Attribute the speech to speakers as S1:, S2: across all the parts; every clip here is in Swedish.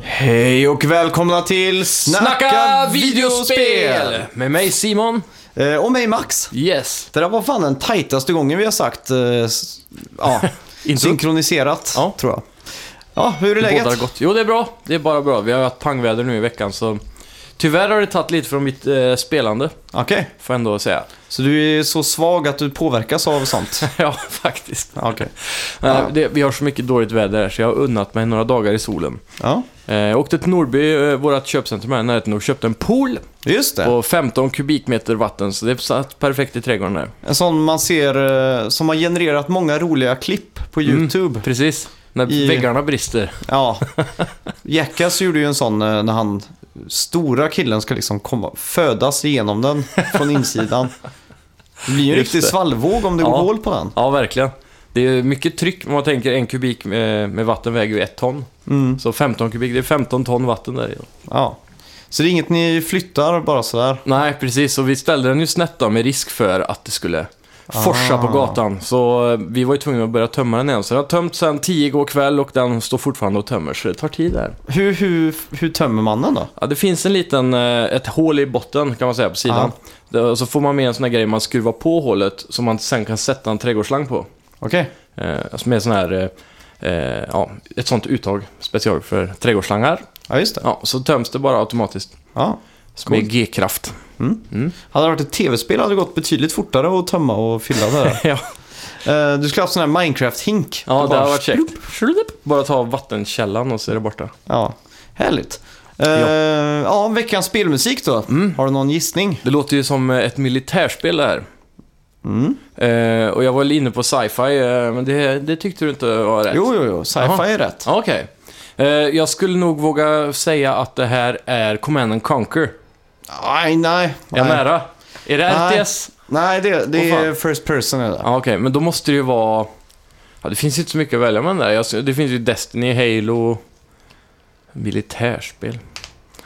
S1: Hej och välkomna till Snacka, videospel!
S2: Med mig Simon.
S1: Eh, och mig Max.
S2: Yes.
S1: Det där var fan den tajtaste gången vi har sagt eh, s- ja,
S2: Intro.
S1: synkroniserat,
S2: Ja.
S1: tror jag. Ja, hur är läget?
S2: Bådar gott. Jo, det är bra. Det är bara bra. Vi har haft pangväder nu i veckan så tyvärr har det tagit lite från mitt eh, spelande,
S1: Okej,
S2: får jag ändå säga.
S1: så du är så svag att du påverkas av sånt?
S2: ja, faktiskt.
S1: Ja, Okej.
S2: Nej, Eh, det, vi har så mycket dåligt väder här så jag har unnat mig några dagar i solen.
S1: Ja,
S2: Eh, jag åkte till Norrby, eh, vårt köpcentrum här i närheten, och köpte en pool
S1: just det.
S2: på 15 kubikmeter vatten så det satt perfekt i trädgården där.
S1: En sån man ser eh, som har genererat många roliga klipp på
S2: Mm.
S1: YouTube.
S2: Precis. När
S1: I-
S2: väggarna brister.
S1: Ja. Jackass gjorde ju en sån eh, när han, stora killen ska liksom komma, födas igenom den från insidan. Det blir ju en
S2: Just
S1: riktig
S2: det.
S1: svallvåg om det går
S2: Ja.
S1: hål på den.
S2: Ja, verkligen. Det är mycket tryck om man tänker en kubik med, med vatten väger ju ett ton.
S1: Mm,
S2: Så 15 kubik, det är 15 ton vatten där i.
S1: ja. Så det är inget ni flyttar bara sådär?
S2: Nej, precis. Och vi ställde den ju snett då med risk för att det skulle forsa på
S1: Ah.
S2: gatan. Så eh, vi var ju tvungna att börja tömma den igen. Så den har tömt sedan 10 igår kväll och den står fortfarande och tömmer. Så det tar tid där.
S1: Hur, hur, hur tömmer man den då?
S2: Ja, det finns en liten, eh, ett hål i botten kan man säga på sidan. Det- och Så får man med en sån här grej man skruvar på hålet som man sen kan sätta en trädgårdsslang på.
S1: Okej.
S2: Eh, som är sån här, eh, eh, ja, ett sånt uttag special för trädgårdsslangar.
S1: Ja, just det.
S2: Ja, så töms det bara automatiskt.
S1: Ja.
S2: Med G-kraft.
S1: Hade det varit ett tv-spel hade det gått betydligt fortare att tömma och fylla det där.
S2: ja,
S1: Eh, Du skulle haft sån här Minecraft-hink.
S2: ja
S1: Du
S2: det
S1: bara-
S2: har varit käckt. Bara ta vattenkällan och så är det borta.
S1: Ja, härligt. Eh, ja. veckans spelmusik då.
S2: Mm.
S1: Har du någon gissning?
S2: Det låter ju som eh, ett militärspel det här.
S1: Mm.
S2: Eh, och jag var lite inne på sci-fi, eh, men det, det tyckte du inte var rätt.
S1: Jo, jo, jo. Sci-fi
S2: Jaha.
S1: är rätt.
S2: Ja, Okej. Eh, jag skulle nog våga säga att det här är Command and Conquer.
S1: Nej, nej.
S2: Är jag
S1: nej.
S2: nära? Är det
S1: Nej.
S2: RTS?
S1: nej, det, det
S2: Åh,
S1: är first person. Är det.
S2: Ja, Okej, men då måste det ju vara... Ja, det finns ju inte så mycket att välja mellan där. Jag- Det finns ju Destiny, Halo... Militärspel.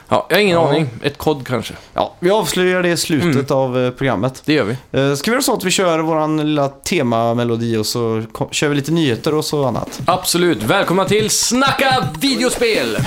S2: Ja, jag har ingen
S1: Ja.
S2: aning. Ett kod kanske.
S1: Ja, vi avslöjar det i slutet av eh, programmet.
S2: Det gör vi.
S1: Eh, ska vi göra så att vi kör vår lilla temamelodi och så ko- kör vi lite nyheter och så annat.
S2: Absolut. Välkomna till Snacka videospel!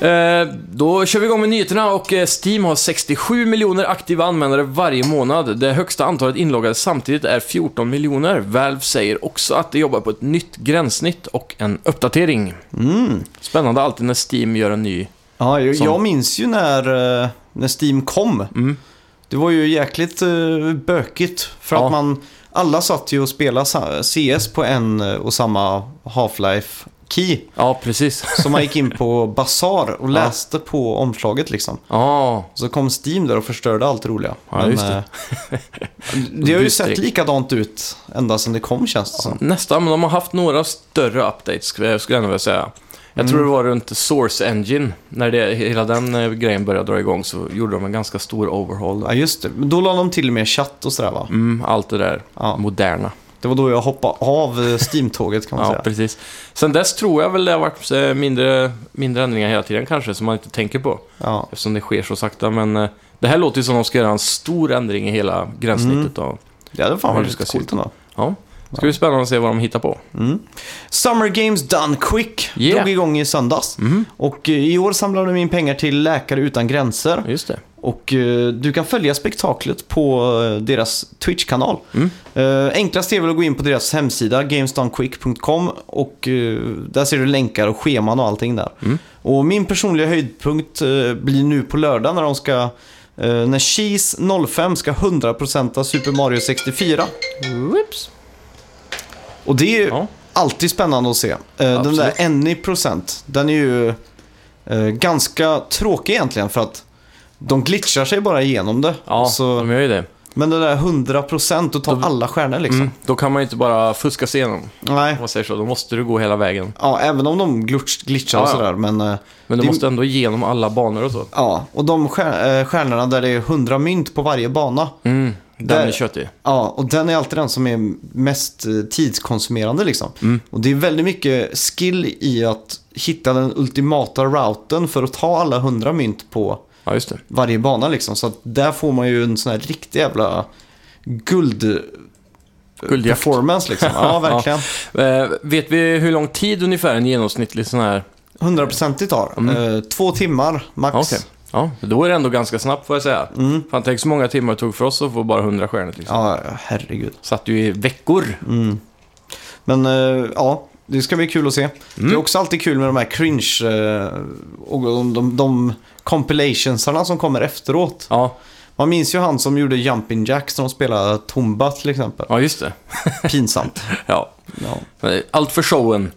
S2: Eh, Då kör vi igång med nyheterna och eh, Steam har 67 miljoner aktiva användare varje månad. Det högsta antalet inloggade samtidigt är 14 miljoner. Valve säger också att de jobbar på ett nytt gränssnitt och en uppdatering.
S1: Mm.
S2: Spännande alltid när Steam gör en ny.
S1: Ja, jag,
S2: Som-
S1: jag minns ju när, eh, när Steam kom.
S2: Mm.
S1: Det var ju jäkligt eh, bökigt. För
S2: Ja.
S1: att man, alla satt ju och spelade sa- CS på en eh, och samma Half-Life Key.
S2: Ja, precis.
S1: Så man gick in på Bazaar och
S2: Ja.
S1: läste på omslaget liksom.
S2: Ja,
S1: Så kom Steam där och förstörde allt roliga.
S2: Ja, just det.
S1: eh, det har ju
S2: Bystrick.
S1: sett likadant ut ända sedan det kom känns det som.
S2: nästan. Men de har haft några större updates, skulle jag skulle jag ändå vilja säga. Jag tror det
S1: Mm.
S2: var runt Source Engine, när det, hela den eh, grejen började dra igång så gjorde de en ganska stor overhaul. där.
S1: Ja, just det. Men Då la de till med chatt och sådär va?
S2: Mm, allt det där
S1: Ja.
S2: moderna.
S1: Det var då jag hoppade av eh, Steam-tåget kan man
S2: Ja,
S1: säga.
S2: precis. Sen dess tror jag väl det har varit eh, mindre, mindre ändringar hela tiden kanske, som man inte tänker på.
S1: Ja.
S2: Eftersom det sker så sakta, men eh, det här låter ju som att de ska göra en stor ändring i hela gränssnittet.
S1: Mm.
S2: av-
S1: Det hade fan
S2: Hur
S1: varit
S2: det ska
S1: lite
S2: se
S1: coolt ändå. Mm.
S2: Ja. Det ska bli spännande att se vad de hittar på.
S1: Summer Games Done Quick
S2: Yeah. Mm.
S1: drog igång i söndags. Och eh, i år samlar de in pengar till Läkare Utan Gränser.
S2: Just det.
S1: Och eh, du kan följa spektaklet på eh, deras Twitch-kanal.
S2: Mm.
S1: Eh, enklast är väl att gå in på deras hemsida, gamesdonequick.com och eh, där ser du länkar och scheman och allting där.
S2: Mm.
S1: Och min personliga höjdpunkt eh, blir nu på lördag när de ska eh, när Cheese 05 ska 100% Super Mario 64.
S2: Whoops.
S1: Och det är ju
S2: Ja.
S1: alltid spännande att se. Eh, den
S2: Absolut.
S1: där any procent, den är ju eh, ganska tråkig egentligen för att de glitchar sig bara igenom det.
S2: Ja,
S1: Så-
S2: de gör ju det.
S1: men det där 100% och ta
S2: Då-
S1: alla stjärnor liksom.
S2: Mm. Då kan man ju inte bara fuska sig igenom,
S1: Nej.
S2: om man säger så. Då måste du gå hela vägen.
S1: Ja, även om de glitch, glitchar och
S2: Ja, ja.
S1: sådär. Men, eh,
S2: Men du
S1: Det-
S2: måste ändå igenom alla banor och så.
S1: ja. Och de stjär, eh, stjärnorna där det är 100 mynt på varje bana.
S2: Mm. Den är
S1: Där-
S2: köttig.
S1: Ja, och den är alltid den som är mest eh, tidskonsumerande liksom.
S2: Mm.
S1: Och det är väldigt mycket skill i att hitta den ultimata routen för att ta alla hundra mynt på
S2: Ja, just det.
S1: varje bana liksom. Så att där får man ju en sån här riktig jävla guld...
S2: Guldjakt.
S1: Performance liksom. Ja, verkligen.
S2: Eh, vet vi hur lång tid ungefär en genomsnittlig sån här...
S1: 100% tar. Eh, två timmar max.
S2: Ja, Mm. Okej. Ja, då är det ändå ganska snabbt får jag säga. Fan, tänk så många timmar det tog för oss att få bara 100 stjärnor. Liksom.
S1: Ja, herregud.
S2: Satt ju i veckor.
S1: Men eh, ja, det ska bli kul att se. Det är också alltid kul med de här cringe eh, och de, de, de compilationsarna som kommer efteråt.
S2: Ja,
S1: Man minns ju han som gjorde Jumpin' Jacks när de spelade Tomba till exempel.
S2: ja just det.
S1: Pinsamt.
S2: Ja.
S1: Ja.
S2: Allt för showen.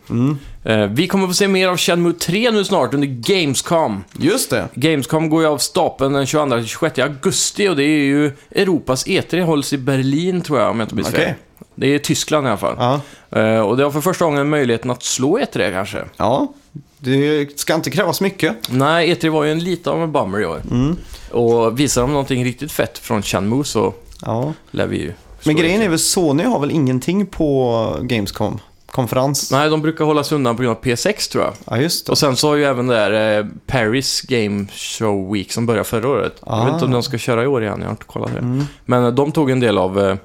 S2: Eh, vi kommer få se mer av Shenmue 3 nu snart under Gamescom.
S1: Just det.
S2: Gamescom går ju av stapeln den 22-26 augusti och det är ju Europas E3 hålls i Berlin tror jag om jag inte minns fel.
S1: Okej.
S2: Det är Tyskland i alla fall.
S1: Ja.
S2: Eh, och det har för första gången möjligheten att slå E3 kanske.
S1: ja, det ska inte krävas mycket.
S2: Nej, E3 var ju en lite av en bummer i år.
S1: Mm.
S2: Och visar de någonting riktigt fett från Shenmue så
S1: Ja.
S2: lär vi ju... slå E
S1: Men grejen
S2: E3.
S1: är väl, Sony har väl ingenting på Gamescom-konferens?
S2: Nej, de brukar hålla sig undan på grund av P6 tror jag.
S1: Ja, just det.
S2: Och sen så har ju även det där eh, Paris Game Show Week som började förra året. Jag vet
S1: Ah.
S2: inte om de ska köra i år igen, jag har inte kollat det.
S1: Mm.
S2: Men eh, de tog en del av eh,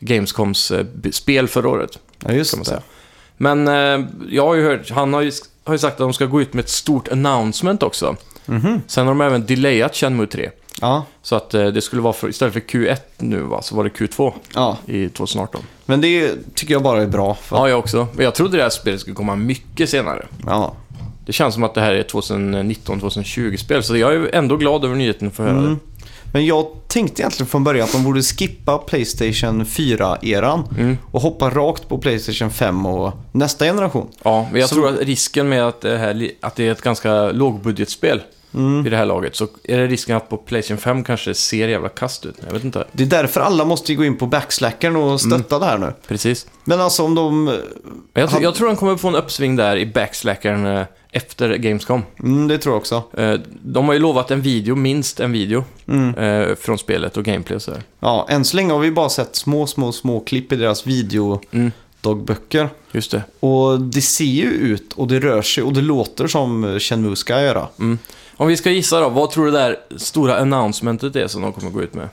S2: Gamescoms eh, b- spel förra året,
S1: Ja,
S2: kan man
S1: just
S2: säga.
S1: det.
S2: Men eh, jag har ju hört, han har ju, har ju sagt att de ska gå ut med ett stort announcement också.
S1: Mhm.
S2: Sen har de även delayat Shenmue 3.
S1: Ja.
S2: Så att eh, det skulle vara, för, istället för Q1 nu va, så var det Q2
S1: ja,
S2: i 2018.
S1: men det tycker jag bara är bra. För,
S2: Ja, jag också. Men jag trodde det här spelet skulle komma mycket senare.
S1: ja.
S2: Det känns som att det här är 2019-2020-spel, så jag är ju ändå glad över nyheten för att
S1: Mm.
S2: höra det.
S1: Men jag tänkte egentligen från början att de borde skippa Playstation 4-eran och hoppa rakt på Playstation 5 och nästa generation.
S2: Ja, men jag
S1: Så-
S2: tror att risken med att det, här, li- att det är ett ganska lågbudgetspel
S1: Mm.
S2: i det här laget, så är det risken att på Playstation 5 kanske det ser jävla kast ut. Jag vet inte.
S1: Det är därför alla måste ju gå in på backslackern och stötta det här nu.
S2: Precis.
S1: Men alltså om de...
S2: Men jag, tr-
S1: Han-
S2: jag tror de kommer få en uppsving där i backslackern eh, efter Gamescom.
S1: Mm, det tror jag också.
S2: Eh, De har ju lovat en video, minst en video,
S1: Mm.
S2: eh, från spelet och gameplay och sådär.
S1: Ja, än så länge har vi bara sett små, små, små klipp i deras videodagböcker.
S2: Just det.
S1: Och det ser ju ut och det rör sig och det låter som Shenmue ska göra.
S2: Om vi ska gissa då, vad tror du det där stora announcementet är som de kommer gå ut med?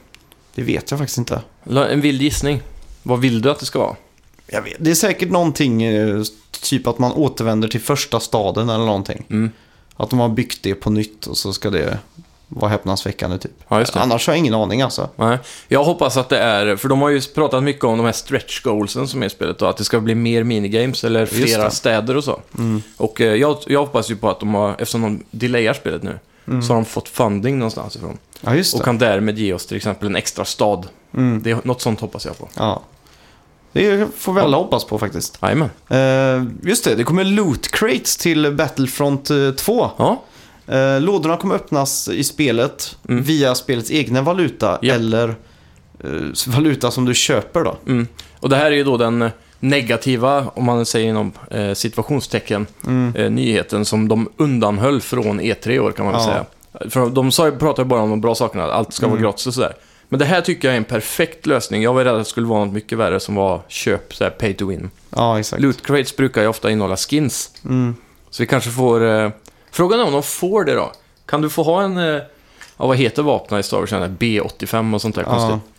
S1: Det vet jag faktiskt inte.
S2: La- En vild gissning. Vad vill du att det ska vara?
S1: Jag vet. Det är säkert någonting, eh, typ att man återvänder till första staden eller någonting.
S2: Mm.
S1: Att de har byggt det på nytt och så ska det vara häpnadsväckande typ.
S2: Ja, just det.
S1: Annars har jag ingen aning alltså.
S2: Nej. Jag hoppas att det är, för de har ju pratat mycket om de här stretch goalsen som är i spelet då, att det ska bli mer minigames eller
S1: Just
S2: flera
S1: det. Mm.
S2: städer och så. Och eh, jag, jag hoppas ju på att de har, eftersom de delayar spelet nu, så har de fått funding någonstans ifrån.
S1: Ja, Mm. just
S2: Och
S1: det.
S2: kan därmed ge oss till exempel en extra stad.
S1: Mm.
S2: Det, är- något sånt hoppas jag på.
S1: Ja. Det får vi alla hoppas på faktiskt.
S2: Jajamän.
S1: Eh, just det, det kommer loot crates till Battlefront eh, 2.
S2: Ja,
S1: Eh, lådorna kommer öppnas i spelet
S2: Mm.
S1: via spelets egna valuta
S2: Ja.
S1: eller eh, valuta som du köper då.
S2: mm. Och det här är ju då den eh, negativa, om man säger inom eh, situationstecken,
S1: Mm.
S2: eh, nyheten som de undanhöll från E3 i år kan man väl
S1: Ja. Mm.
S2: säga. För de sa, ju- pratade ju bara om de bra sakerna, allt ska vara gratis och sådär. Men det här tycker jag är en perfekt lösning. Jag var rädd att det skulle vara något mycket värre som var köp, så här, pay to win.
S1: Ja, exakt.
S2: Loot crates brukar ju ofta innehålla skins.
S1: Mm.
S2: Så vi kanske får... Eh, frågan är om de får det då. Kan du få ha en... Eh, ja, vad heter vapnen i Star Wars? Den där B85 och sånt där
S1: Ja.
S2: konstigt.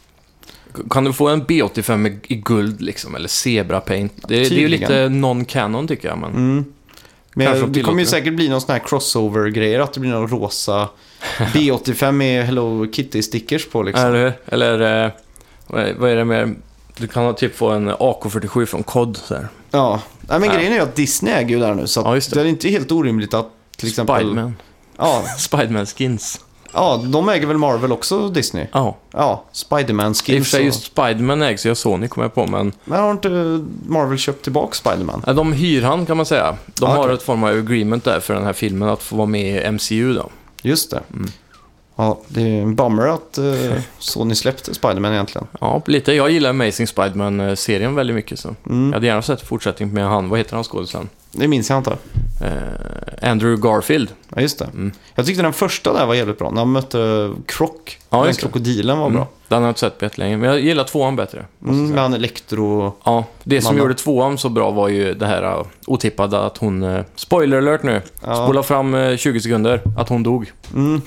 S2: Kan du få en B85 i, i guld liksom? Eller zebra paint? Det, det är ju
S1: Tydligen.
S2: lite non-canon tycker jag, men...
S1: Mm. Men
S2: Kanske de
S1: det kommer ju
S2: tillåter det.
S1: säkert bli någon sån här crossover-grejer, att det blir någon rosa B85 med Hello Kitty-stickers på liksom.
S2: Eller, eller eh, vad är- vad är det med... Du kan ha typ få en AK47 från COD så här.
S1: Ja, Nej, men
S2: Ja.
S1: grejen är ju att Disney äger ju där nu, så att
S2: Äh. Ja, just det.
S1: det är inte helt orimligt att till exempel...
S2: Spiderman.
S1: Ja,
S2: Spiderman skins.
S1: ja, de äger väl Marvel också, Disney?
S2: Ja.
S1: Ja, Spiderman
S2: I och för
S1: skins
S2: sig,
S1: och-
S2: just Spiderman ägs ju av Sony, kommer jag på, men...
S1: Men har inte Marvel köpt tillbaka Spiderman?
S2: Ja, De hyr han kan man säga. De
S1: Ah,
S2: har
S1: okej.
S2: ett form av agreement där för den här filmen att få vara med i MCU då.
S1: Just det.
S2: Mm.
S1: Ja, det är en bummer att eh, Sony släppte Spiderman egentligen.
S2: Ja, lite. Jag gillar Amazing Spiderman-serien Mm. väldigt mycket så. Jag hade gärna sett fortsättning med han, vad heter han skådisen?
S1: Det minns jag inte.
S2: Eh, Andrew Garfield.
S1: Ja, just det.
S2: Mm.
S1: Jag tyckte den första där var jävligt bra, när han mötte Croc.
S2: Ja,
S1: den
S2: just det.
S1: krokodilen var bra.
S2: Mm. Den har jag inte sett på länge, men jag gillar tvåan bättre. måste jag
S1: Mm,
S2: säga.
S1: med han elektro...
S2: Ja, det som
S1: Mamma.
S2: gjorde tvåan så bra var ju det här eh, otippade att hon... eh, Spoiler alert nu!
S1: Ja.
S2: Spola fram eh, 20 sekunder, att hon dog.
S1: Mm.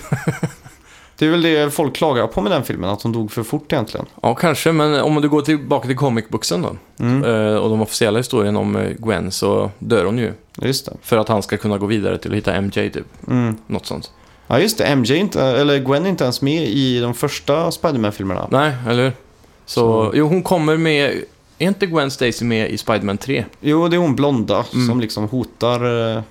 S1: det är väl det folk klagar på med den filmen, att hon dog för fort egentligen.
S2: Ja, kanske, men om du går tillbaka till comic booksen då.
S1: Mm.
S2: eh, Och de officiella historien om eh, Gwen så dör hon ju.
S1: Just det.
S2: För att han ska kunna gå vidare till att hitta MJ typ.
S1: Mm.
S2: Något sånt.
S1: Ja, just det. MJ, är inte, eller Gwen är inte ens med i de första Spiderman-filmerna.
S2: Nej, eller hur? Så,
S1: Så-
S2: jo hon kommer med... Är inte Gwen Stacy med i Spider-Man 3?
S1: Jo, det är hon blonda
S2: Mm.
S1: som liksom hotar eh,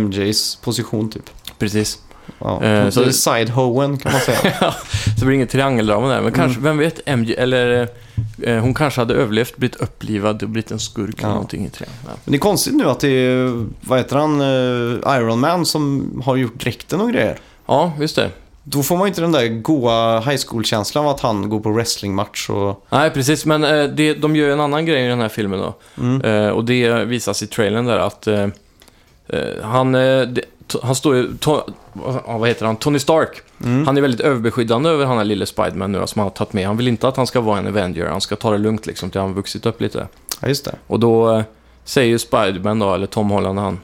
S1: MJs position typ.
S2: Precis.
S1: Ja.
S2: Eh,
S1: Eh,
S2: så-
S1: så... Side-hoen kan man säga.
S2: Så det blir inget triangeldrama där, men
S1: Mm.
S2: kanske, vem vet, MJ, eller... Eh, hon kanske hade överlevt, blivit upplivad och blivit en skurk eller
S1: Ja.
S2: någonting i trean. Ja.
S1: Men det är konstigt nu att det är, vad heter han, eh, Iron Man som har gjort dräkten och grejer.
S2: ja, just det.
S1: Då får man ju inte den där goa high school-känslan av att han går på wrestlingmatch och...
S2: Nej, precis, men eh, det, de gör ju en annan grej i den här filmen då.
S1: Mm.
S2: Eh, och det visas i trailern där att eh, eh, han, eh, det, to- han står ju, to, ja, vad heter han, Tony Stark.
S1: Mm.
S2: Han är väldigt överbeskyddande över han här lille Spiderman nu då, som han har tagit med. Han vill inte att han ska vara en Avenger, han ska ta det lugnt liksom till han har vuxit upp lite.
S1: Ja, just det.
S2: Och då eh, säger ju Spiderman då, eller Tom Holland han,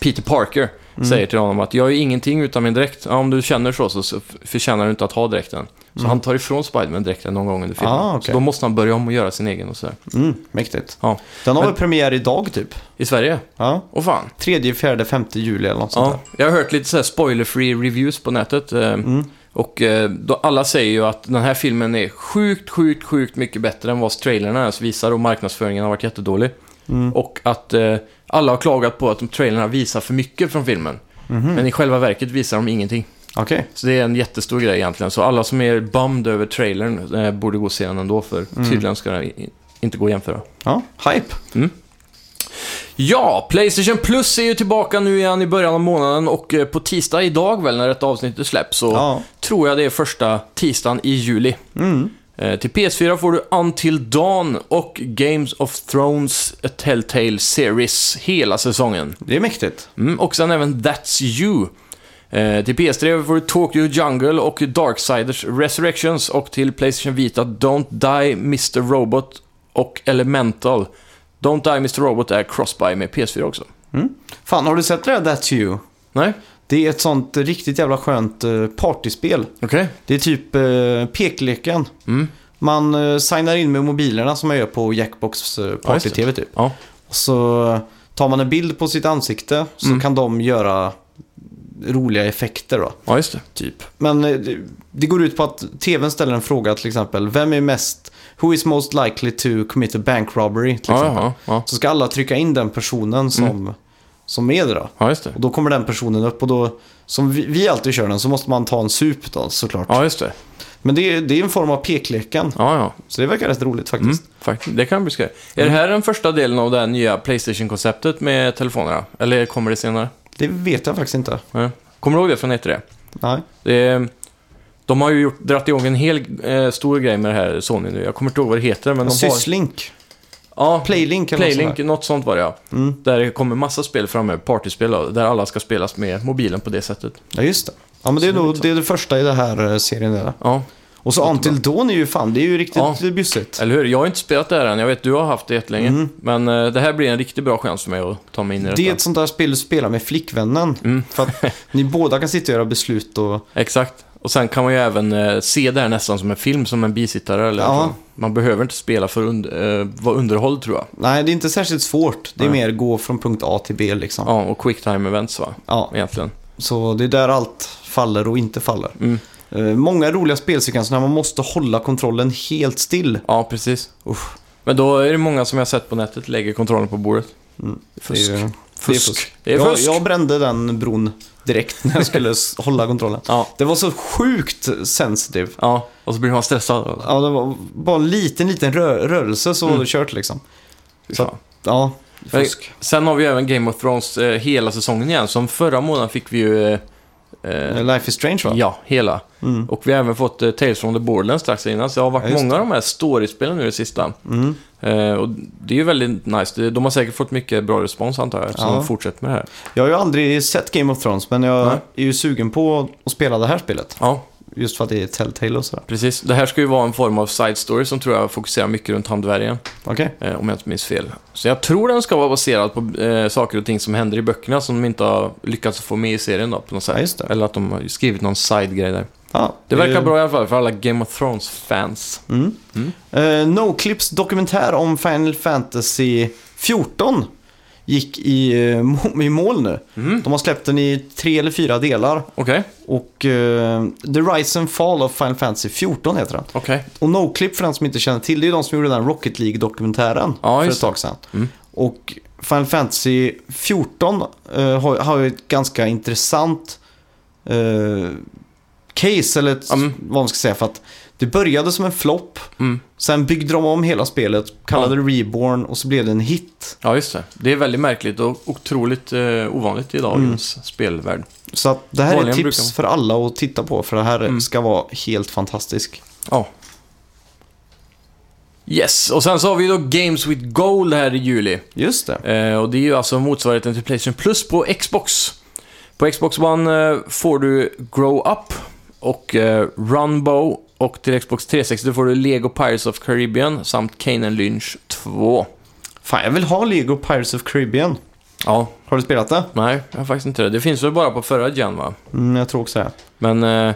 S2: Peter Parker,
S1: Mm.
S2: säger till honom att jag är ingenting utan min dräkt. Ja, om du känner så så- så f- förtjänar du inte att ha dräkten. Så han tar ifrån Spiderman dräkten någon gång under filmen.
S1: Mm. Ah, okej.
S2: Så då måste han börja om och göra sin egen och sådär.
S1: Mm, mäktigt.
S2: Ja.
S1: Den har
S2: Men-
S1: väl premiär idag typ?
S2: I Sverige?
S1: Ja.
S2: Åh fan.
S1: Tredje, fjärde, femte juli eller något sånt
S2: Ja, jag har hört lite så här spoiler-free reviews på nätet. eh, Och eh, då, alla säger ju att den här filmen är sjukt, sjukt, sjukt mycket bättre än vad trailerna ens visar och marknadsföringen har varit jättedålig. Och att eh, alla har klagat på att de trailerna visar för mycket från filmen. Men i själva verket visar de ingenting.
S1: där. Okej.
S2: Så det är en jättestor grej egentligen. Så alla som är bummed över trailern eh, borde gå och se den ändå, för tydligen ska den i- inte gå att jämföra.
S1: Ja, hype.
S2: Ja, Playstation Plus är ju tillbaka nu igen i början av månaden och eh, på tisdag idag väl när detta avsnitt släpps så
S1: Ja.
S2: tror jag det är första tisdagen i juli. Eh, Till PS4 får du Until Dawn och Games of Thrones A Telltale Series hela säsongen.
S1: Det är mäktigt.
S2: Mm, och sen även That's You. Eh, till PS3 får du Tokyo Jungle och Darksiders Resurrections och till Playstation Vita Don't Die Mr. Robot och Elemental. Don't Die Mr. Robot är crossbuy med PS4 också.
S1: Mm. Fan, har du sett det där That's You?
S2: Nej?
S1: Det är ett sånt riktigt jävla skönt eh, partyspel.
S2: Okej.
S1: Det är typ eh, pekleken.
S2: Mm.
S1: Man eh, signar in med mobilerna som man gör på Jackbox eh,
S2: Ja, just det.
S1: Party-TV typ.
S2: Ja.
S1: Och så tar man en bild på sitt ansikte så
S2: Mm.
S1: kan de göra roliga effekter då.
S2: ja, just det.
S1: Typ. Men eh, det- det går ut på att TVn ställer en fråga till exempel. Vem är mest... Who is most likely to commit a bank robbery? Till
S2: Ja, Mm.
S1: exempel.
S2: ja, ja.
S1: Så ska alla trycka in den personen som, som är det då.
S2: ja, just det.
S1: Och då kommer den personen upp och då, som vi, vi alltid kör den, så måste man ta en sup då såklart.
S2: Ja, just det.
S1: Men det är, det är en form av pekleken,
S2: Ja, ja.
S1: så det verkar rätt roligt
S2: Mm,
S1: faktiskt.
S2: faktiskt. Det kan bli skoj. Är det här den första delen av det här nya Playstation-konceptet med telefonerna? Eller kommer det senare?
S1: Det vet jag faktiskt inte.
S2: Nej. Kommer du ihåg det från 1
S1: Nej.
S2: Det, Eh, de har ju gjort, dratt igång en hel eh, stor grej med det här Sony nu. Jag kommer inte ihåg vad det heter, men de har...
S1: Sysslink,
S2: Ja,
S1: Playlink eller något sånt
S2: Playlink,
S1: där.
S2: något sånt var det ja.
S1: Mm.
S2: Där det kommer massa spel framöver, partyspel då, där alla ska spelas med mobilen på det sättet.
S1: Ja, just det. Ja, men det är, nog, det är det första i den här eh, serien. Där.
S2: Ja,
S1: Och så Until Dawn är ju fan, det är ju riktigt
S2: Ja.
S1: ja. bjussigt.
S2: eller hur? Jag har inte spelat det här än, jag vet du har haft det jättelänge. Men eh, det här blir en riktigt bra chans för mig att ta mig in i detta.
S1: Mm. Det är ett sånt där spel du spelar med flickvännen.
S2: Mm.
S1: För att ni båda kan sitta och göra beslut och...
S2: Exakt. Och sen kan man ju även eh, se det här nästan som en film, som en bisittare eller
S1: Ja.
S2: så. Man behöver inte spela för att und- eh, vara underhålld tror jag.
S1: Nej, det är inte särskilt svårt. Det är
S2: Nej.
S1: mer gå från punkt A till B liksom.
S2: Ja, och quicktime-events va?
S1: Ja.
S2: Egentligen.
S1: Så det är där allt faller och inte faller.
S2: Mm.
S1: Eh, Många roliga spelsekvenser när man måste hålla kontrollen helt still.
S2: Ja, precis.
S1: Uff,
S2: Men då är det många som jag har sett på nätet lägger kontrollen på bordet.
S1: Mm, det
S2: Fusk.
S1: är ju-
S2: fusk. Det är
S1: Jag,
S2: fusk.
S1: jag brände den bron direkt när jag skulle s- hålla kontrollen.
S2: Ja.
S1: Det var så sjukt sensitive.
S2: ja, och så blir man stressad.
S1: Ja, det var bara en liten, liten rö- rörelse så
S2: Mm.
S1: var det kört liksom.
S2: Fy
S1: så-
S2: fan.
S1: Ja, fusk.
S2: Sen har vi ju även Game of Thrones eh, hela säsongen igen. Som förra månaden fick vi ju eh, Eh,
S1: Life is Strange va?
S2: ja, hela.
S1: Mm.
S2: Och vi har även fått eh, Tales from the Borderlands strax innan, så det har varit
S1: Ja, just
S2: många av de här storyspelen nu i sista.
S1: Mm.
S2: Eh, och det är ju väldigt nice. Det- De har säkert fått mycket bra respons antar jag, eftersom
S1: Ja.
S2: de fortsätter med det här.
S1: Jag har ju aldrig sett Game of Thrones, men jag
S2: Nej.
S1: är ju sugen på att spela det här spelet.
S2: Ja,
S1: Just för att det är Telltale och sådär.
S2: precis. Det här ska ju vara en form av side story som tror jag fokuserar mycket runt han dvärgen,
S1: Okej.
S2: eh, om jag inte minns fel. Så jag tror den ska vara baserad på eh, saker och ting som händer i böckerna som de inte har lyckats få med i serien då, på något sätt.
S1: Ja, just det.
S2: Eller att de har skrivit någon side-grej där.
S1: Ja,
S2: Det verkar
S1: eh,
S2: bra i alla fall för alla Game of Thrones-fans.
S1: Mm.
S2: Mm.
S1: Eh, Noclips dokumentär om Final Fantasy 14 gick i, eh, må- i mål nu.
S2: Mm.
S1: De har släppt den i tre eller fyra delar.
S2: Okej,
S1: Och eh, The Rise and Fall of Final Fantasy 14 heter den.
S2: okej.
S1: Och Noclip för den som inte känner till, det är ju de som gjorde den Rocket League-dokumentären
S2: Ja,
S1: för
S2: just
S1: ett tag sedan.
S2: Mm.
S1: Och Final Fantasy 14 eh, har, har ju ett ganska intressant eh, case, eller ett,
S2: Ja, men-
S1: vad man ska säga, för att det började som en flopp,
S2: Mm.
S1: sen byggde de om hela spelet, kallade det Reborn och så blev det en hit.
S2: Ja, just det. Det är väldigt märkligt och otroligt eh, ovanligt i dagens spelvärld.
S1: Så att det här
S2: Vanligen
S1: är
S2: brukar man-
S1: tips för alla att titta på, för det här
S2: Mm.
S1: ska vara helt fantastisk.
S2: Ja. Yes, och sen så har vi då Games with Gold här i juli.
S1: Just det.
S2: Eh, och det är ju alltså motsvarigheten till Playstation Plus på Xbox. På Xbox One eh, får du Grow Up och eh, Runbow och till Xbox 360 får du Lego Pirates of Caribbean samt Kane and Lynch 2.
S1: Fan, jag vill ha Lego Pirates of Caribbean.
S2: Ja,
S1: Har du spelat det?
S2: nej, jag har faktiskt inte det. Det finns väl bara på förra gen va?
S1: Mm, jag tror också det.
S2: Men eh,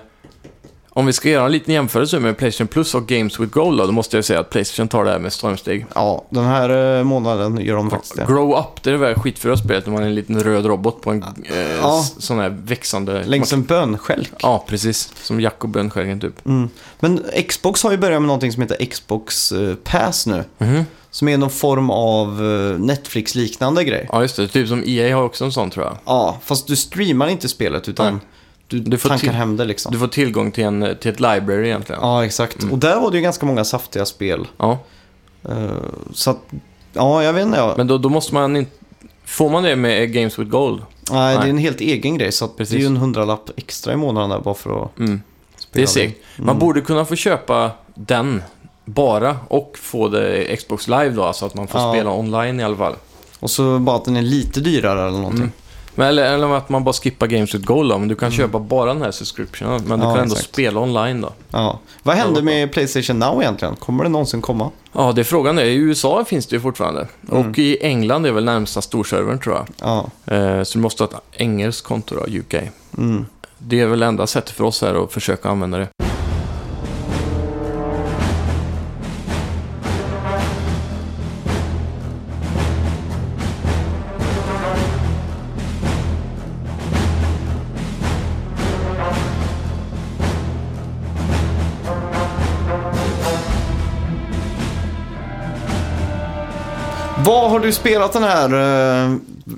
S2: om vi ska göra en liten jämförelse med Playstation Plus och Games with Gold då, då måste jag säga att Playstation tar det här med stormsteg.
S1: Ja, den här eh, månaden gör de faktiskt det.
S2: Grow Up, det är det väl skitfula spelet när man är en liten röd robot på en eh,
S1: Ja.
S2: s- sån här växande...
S1: Längs en bönskälk.
S2: Ja, precis. Som Jack och Bönskärgen typ.
S1: Mm. Men Xbox har ju börjat med någonting som heter Xbox eh, Pass nu.
S2: Mhm.
S1: Som är någon form av eh, Netflix-liknande grej.
S2: Ja, just det. Typ som EA har också en sån tror jag.
S1: Ja, fast du streamar inte spelet utan
S2: Nej.
S1: du,
S2: Du får
S1: tankar
S2: till-
S1: hem det liksom.
S2: Du Mm. får tillgång till, en, till ett library egentligen.
S1: Ja, exakt. Och där var det ju ganska många saftiga spel.
S2: Ja.
S1: Eh, så att, ja, jag vet inte. Ja.
S2: Men då, då måste man inte... Får man det med Games with Gold?
S1: nej, det
S2: nej.
S1: är en helt egen grej. Så att det är
S2: Precis.
S1: ju en hundralapp extra i månaden där bara för att
S2: Mm. Det
S1: spela
S2: är segt. Man
S1: Mm.
S2: borde kunna få köpa den bara och få det i Xbox Live då, alltså att man får
S1: Ja.
S2: spela online i alla fall.
S1: Och så bara att den är lite dyrare eller någonting.
S2: Mm. Men, eller, eller att man bara skippar Games with Gold då, men du kan köpa bara den här subscriptionen. Men du
S1: Mm. Ja,
S2: kan ändå
S1: exakt.
S2: spela online då.
S1: Ja. Vad hände
S2: Ja,
S1: med Playstation Now egentligen? Kommer det någonsin komma?
S2: Ja, det är frågan är. I USA finns det ju fortfarande.
S1: Mm.
S2: Och i England är väl närmsta storservern tror jag.
S1: Ja.
S2: Eh, så du måste ha ett engelskt konto då, UK.
S1: Mm.
S2: Det är väl enda sättet för oss här att försöka använda det.
S1: Vad har du spelat den här eh,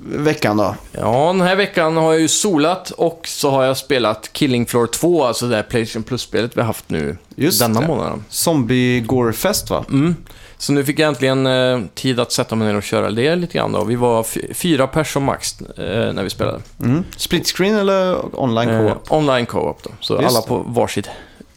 S1: veckan då?
S2: Ja, den här veckan har jag ju solat och så har jag spelat Killing Floor 2, alltså det här Playstation Plus-spelet vi har haft nu
S1: Just
S2: denna
S1: det.
S2: månaden.
S1: Zombie Gorefest va?
S2: Mm. Så nu fick jag äntligen eh, tid att sätta mig ner och köra det lite grann då. Vi var fy- fyra personer max eh, när vi spelade.
S1: Mm. Split screen eller online
S2: Eh,
S1: co-op?
S2: online co-op då, så
S1: Just
S2: alla
S1: det.
S2: på varsitt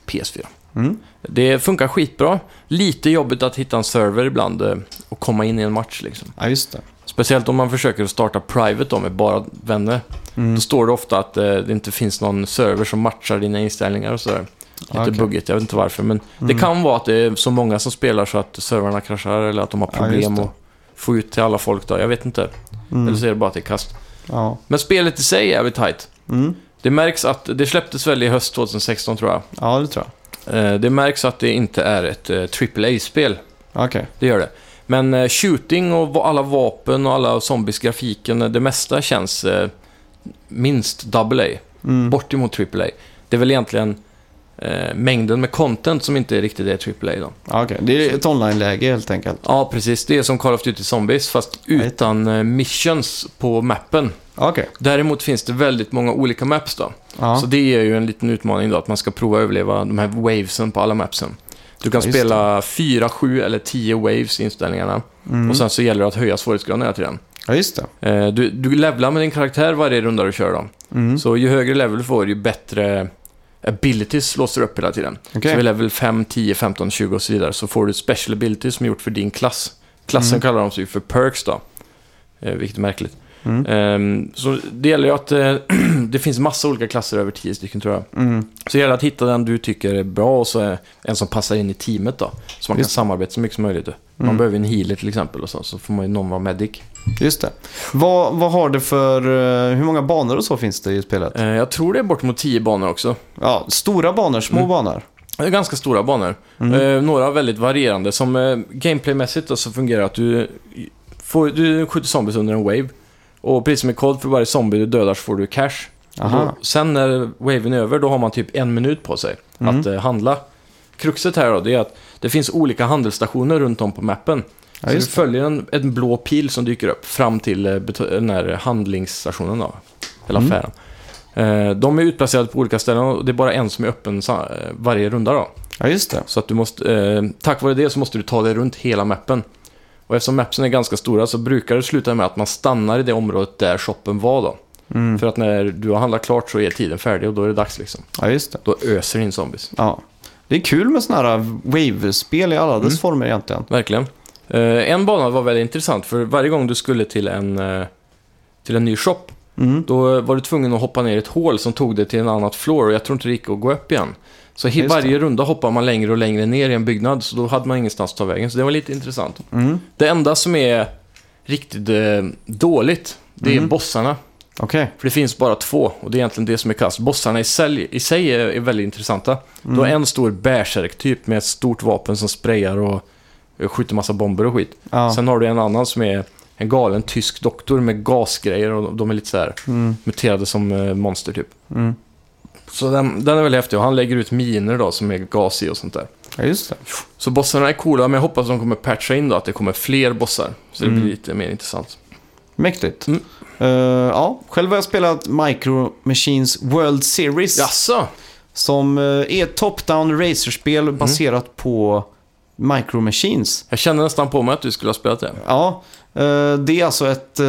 S2: PS4.
S1: Mm.
S2: Det funkar skitbra. Lite jobbigt att hitta en server ibland eh, och komma in i en match liksom.
S1: Ja, just det.
S2: Speciellt om man försöker att starta private då med bara vänner.
S1: Mm.
S2: Då står det ofta att eh, det inte finns någon server som matchar dina inställningar och sådär. Lite
S1: Ah, Okej. Mm.
S2: buggigt, jag vet inte varför. Men det kan vara att det är så många som spelar så att servrarna kraschar eller att de har
S1: Ja, just
S2: problem
S1: det.
S2: att få ut till alla folk då. Jag vet inte.
S1: Mm.
S2: Eller så är det bara att det är kast.
S1: Ja.
S2: Men spelet i sig är jävligt tight.
S1: Mm.
S2: Det märks att, det släpptes väl i höst 2016 tror jag.
S1: ja, det tror jag.
S2: Eh, Det märks att det inte är ett eh, AAA-spel.
S1: Okej.
S2: Det gör det. Men eh, shooting och va- alla vapen och alla zombies grafiken, eh, det mesta känns eh, minst AA.
S1: Mm.
S2: Bort emot AAA. Det är väl egentligen eh, mängden med content som inte riktigt är AAA då.
S1: Ja, okej. Det är ett online-läge helt enkelt.
S2: Ja, precis. Det är som Call of Duty Zombies, fast utan eh, missions på mappen.
S1: Okej.
S2: Däremot finns det väldigt många olika maps då.
S1: Ja.
S2: Så det är ju en liten utmaning då, att man ska prova att överleva de här wavesen på alla mapsen. Du kan
S1: Ja, just
S2: spela 4, 7 eller 10 waves i inställningarna.
S1: Mm.
S2: Och sen så gäller det att höja svårighetsgraden hela tiden.
S1: ja, just det.
S2: Eh, Du, du levlar med din karaktär varje runda du kör då.
S1: Mm.
S2: Så ju högre level du får, ju bättre abilities låser du upp hela tiden.
S1: Okej.
S2: Så vid level 5, 10, 15, 20 och så vidare så får du special abilities som är gjort för din klass. Klassen
S1: Mm.
S2: kallar de sig för perks då, eh, vilket är märkligt.
S1: Mm.
S2: Ehm, så det gäller ju att eh, det finns massa olika klasser, över 10 stycken tror jag.
S1: Mm.
S2: Så det gäller att hitta den du tycker är bra och så är en som passar in i teamet då. Så man kan
S1: Just.
S2: samarbeta så mycket som möjligt. Man
S1: Mm.
S2: behöver ju en healer till exempel och så, så får man ju någon vara medic.
S1: Just det. Vad, vad har det för... eh, Hur många banor och så finns det i spelet?
S2: Eh, jag tror det är bort mot 10 banor också.
S1: Ja, stora banor, små banor.
S2: Det är ganska stora banor. Eh, några väldigt varierande. Som eh, gameplaymässigt då, så fungerar det att du, får, du skjuter zombies under en wave. Och precis som i kod för varje zombie du dödar så får du cash. Och
S1: Aha.
S2: Då, sen när waven är över, då har man typ en minut på sig att eh, handla. Kruxet här då, det är att det finns olika handelsstationer runt om på mappen.
S1: Ja,
S2: så du
S1: just det.
S2: följer en, en blå pil som dyker upp fram till eh, beto- den här handlingsstationen då, eller
S1: Mm.
S2: affären. Eh, de är utplacerade på olika ställen och det är bara en som är öppen sa- eh, varje runda då.
S1: Ja, just det.
S2: Så att du måste, eh, tack vare det så måste du ta dig runt hela mappen. Och eftersom mapsen är ganska stora så brukar det sluta med att man stannar i det området där shoppen var då.
S1: Mm.
S2: För att när du har handlat klart så är tiden färdig och då är det dags liksom.
S1: Ja, just det.
S2: Då öser det in zombies.
S1: Ja. Det är kul med sådana här wave-spel i alla
S2: Mm.
S1: dess former egentligen.
S2: Verkligen. Eh, en bana var väldigt intressant för varje gång du skulle till en, eh, till en ny shop
S1: Mm.
S2: Då var du tvungen att hoppa ner i ett hål som tog dig till en annat floor och jag tror inte det gick att gå upp igen. Så i
S1: Just det.
S2: varje runda hoppar man längre och längre ner i en byggnad, så då hade man ingenstans att ta vägen. Så det var lite intressant.
S1: Mm.
S2: Det enda som är riktigt eh, dåligt, det är
S1: Mm.
S2: bossarna.
S1: Okej.
S2: För det finns bara två och det är egentligen det som är kast. Bossarna i, sig- i sig är, är väldigt intressanta. Du
S1: Mm.
S2: har en stor bärsärk-typ med ett stort vapen som sprayar och eh, skjuter massa bomber och skit.
S1: Ja.
S2: Sen har du en annan som är en galen tysk doktor med gasgrejer och de är lite så här
S1: Mm.
S2: muterade som eh, monster typ.
S1: Mm.
S2: Så den, den är väl häftig och han lägger ut miner då som är gas i och sånt där.
S1: Ja, just det.
S2: Så bossarna är coola men jag hoppas de kommer patcha in då att det kommer fler bossar. Så det
S1: Mm.
S2: blir lite mer intressant.
S1: Mäktigt.
S2: Mm.
S1: Eh, ja, själv har jag spelat Micro Machines World Series.
S2: Jaså?
S1: Som eh, är ett top-down racerspel
S2: Mm.
S1: baserat på Micro Machines.
S2: Jag kände nästan på mig att du skulle ha spelat det.
S1: Ja, eh, det är alltså ett, eh,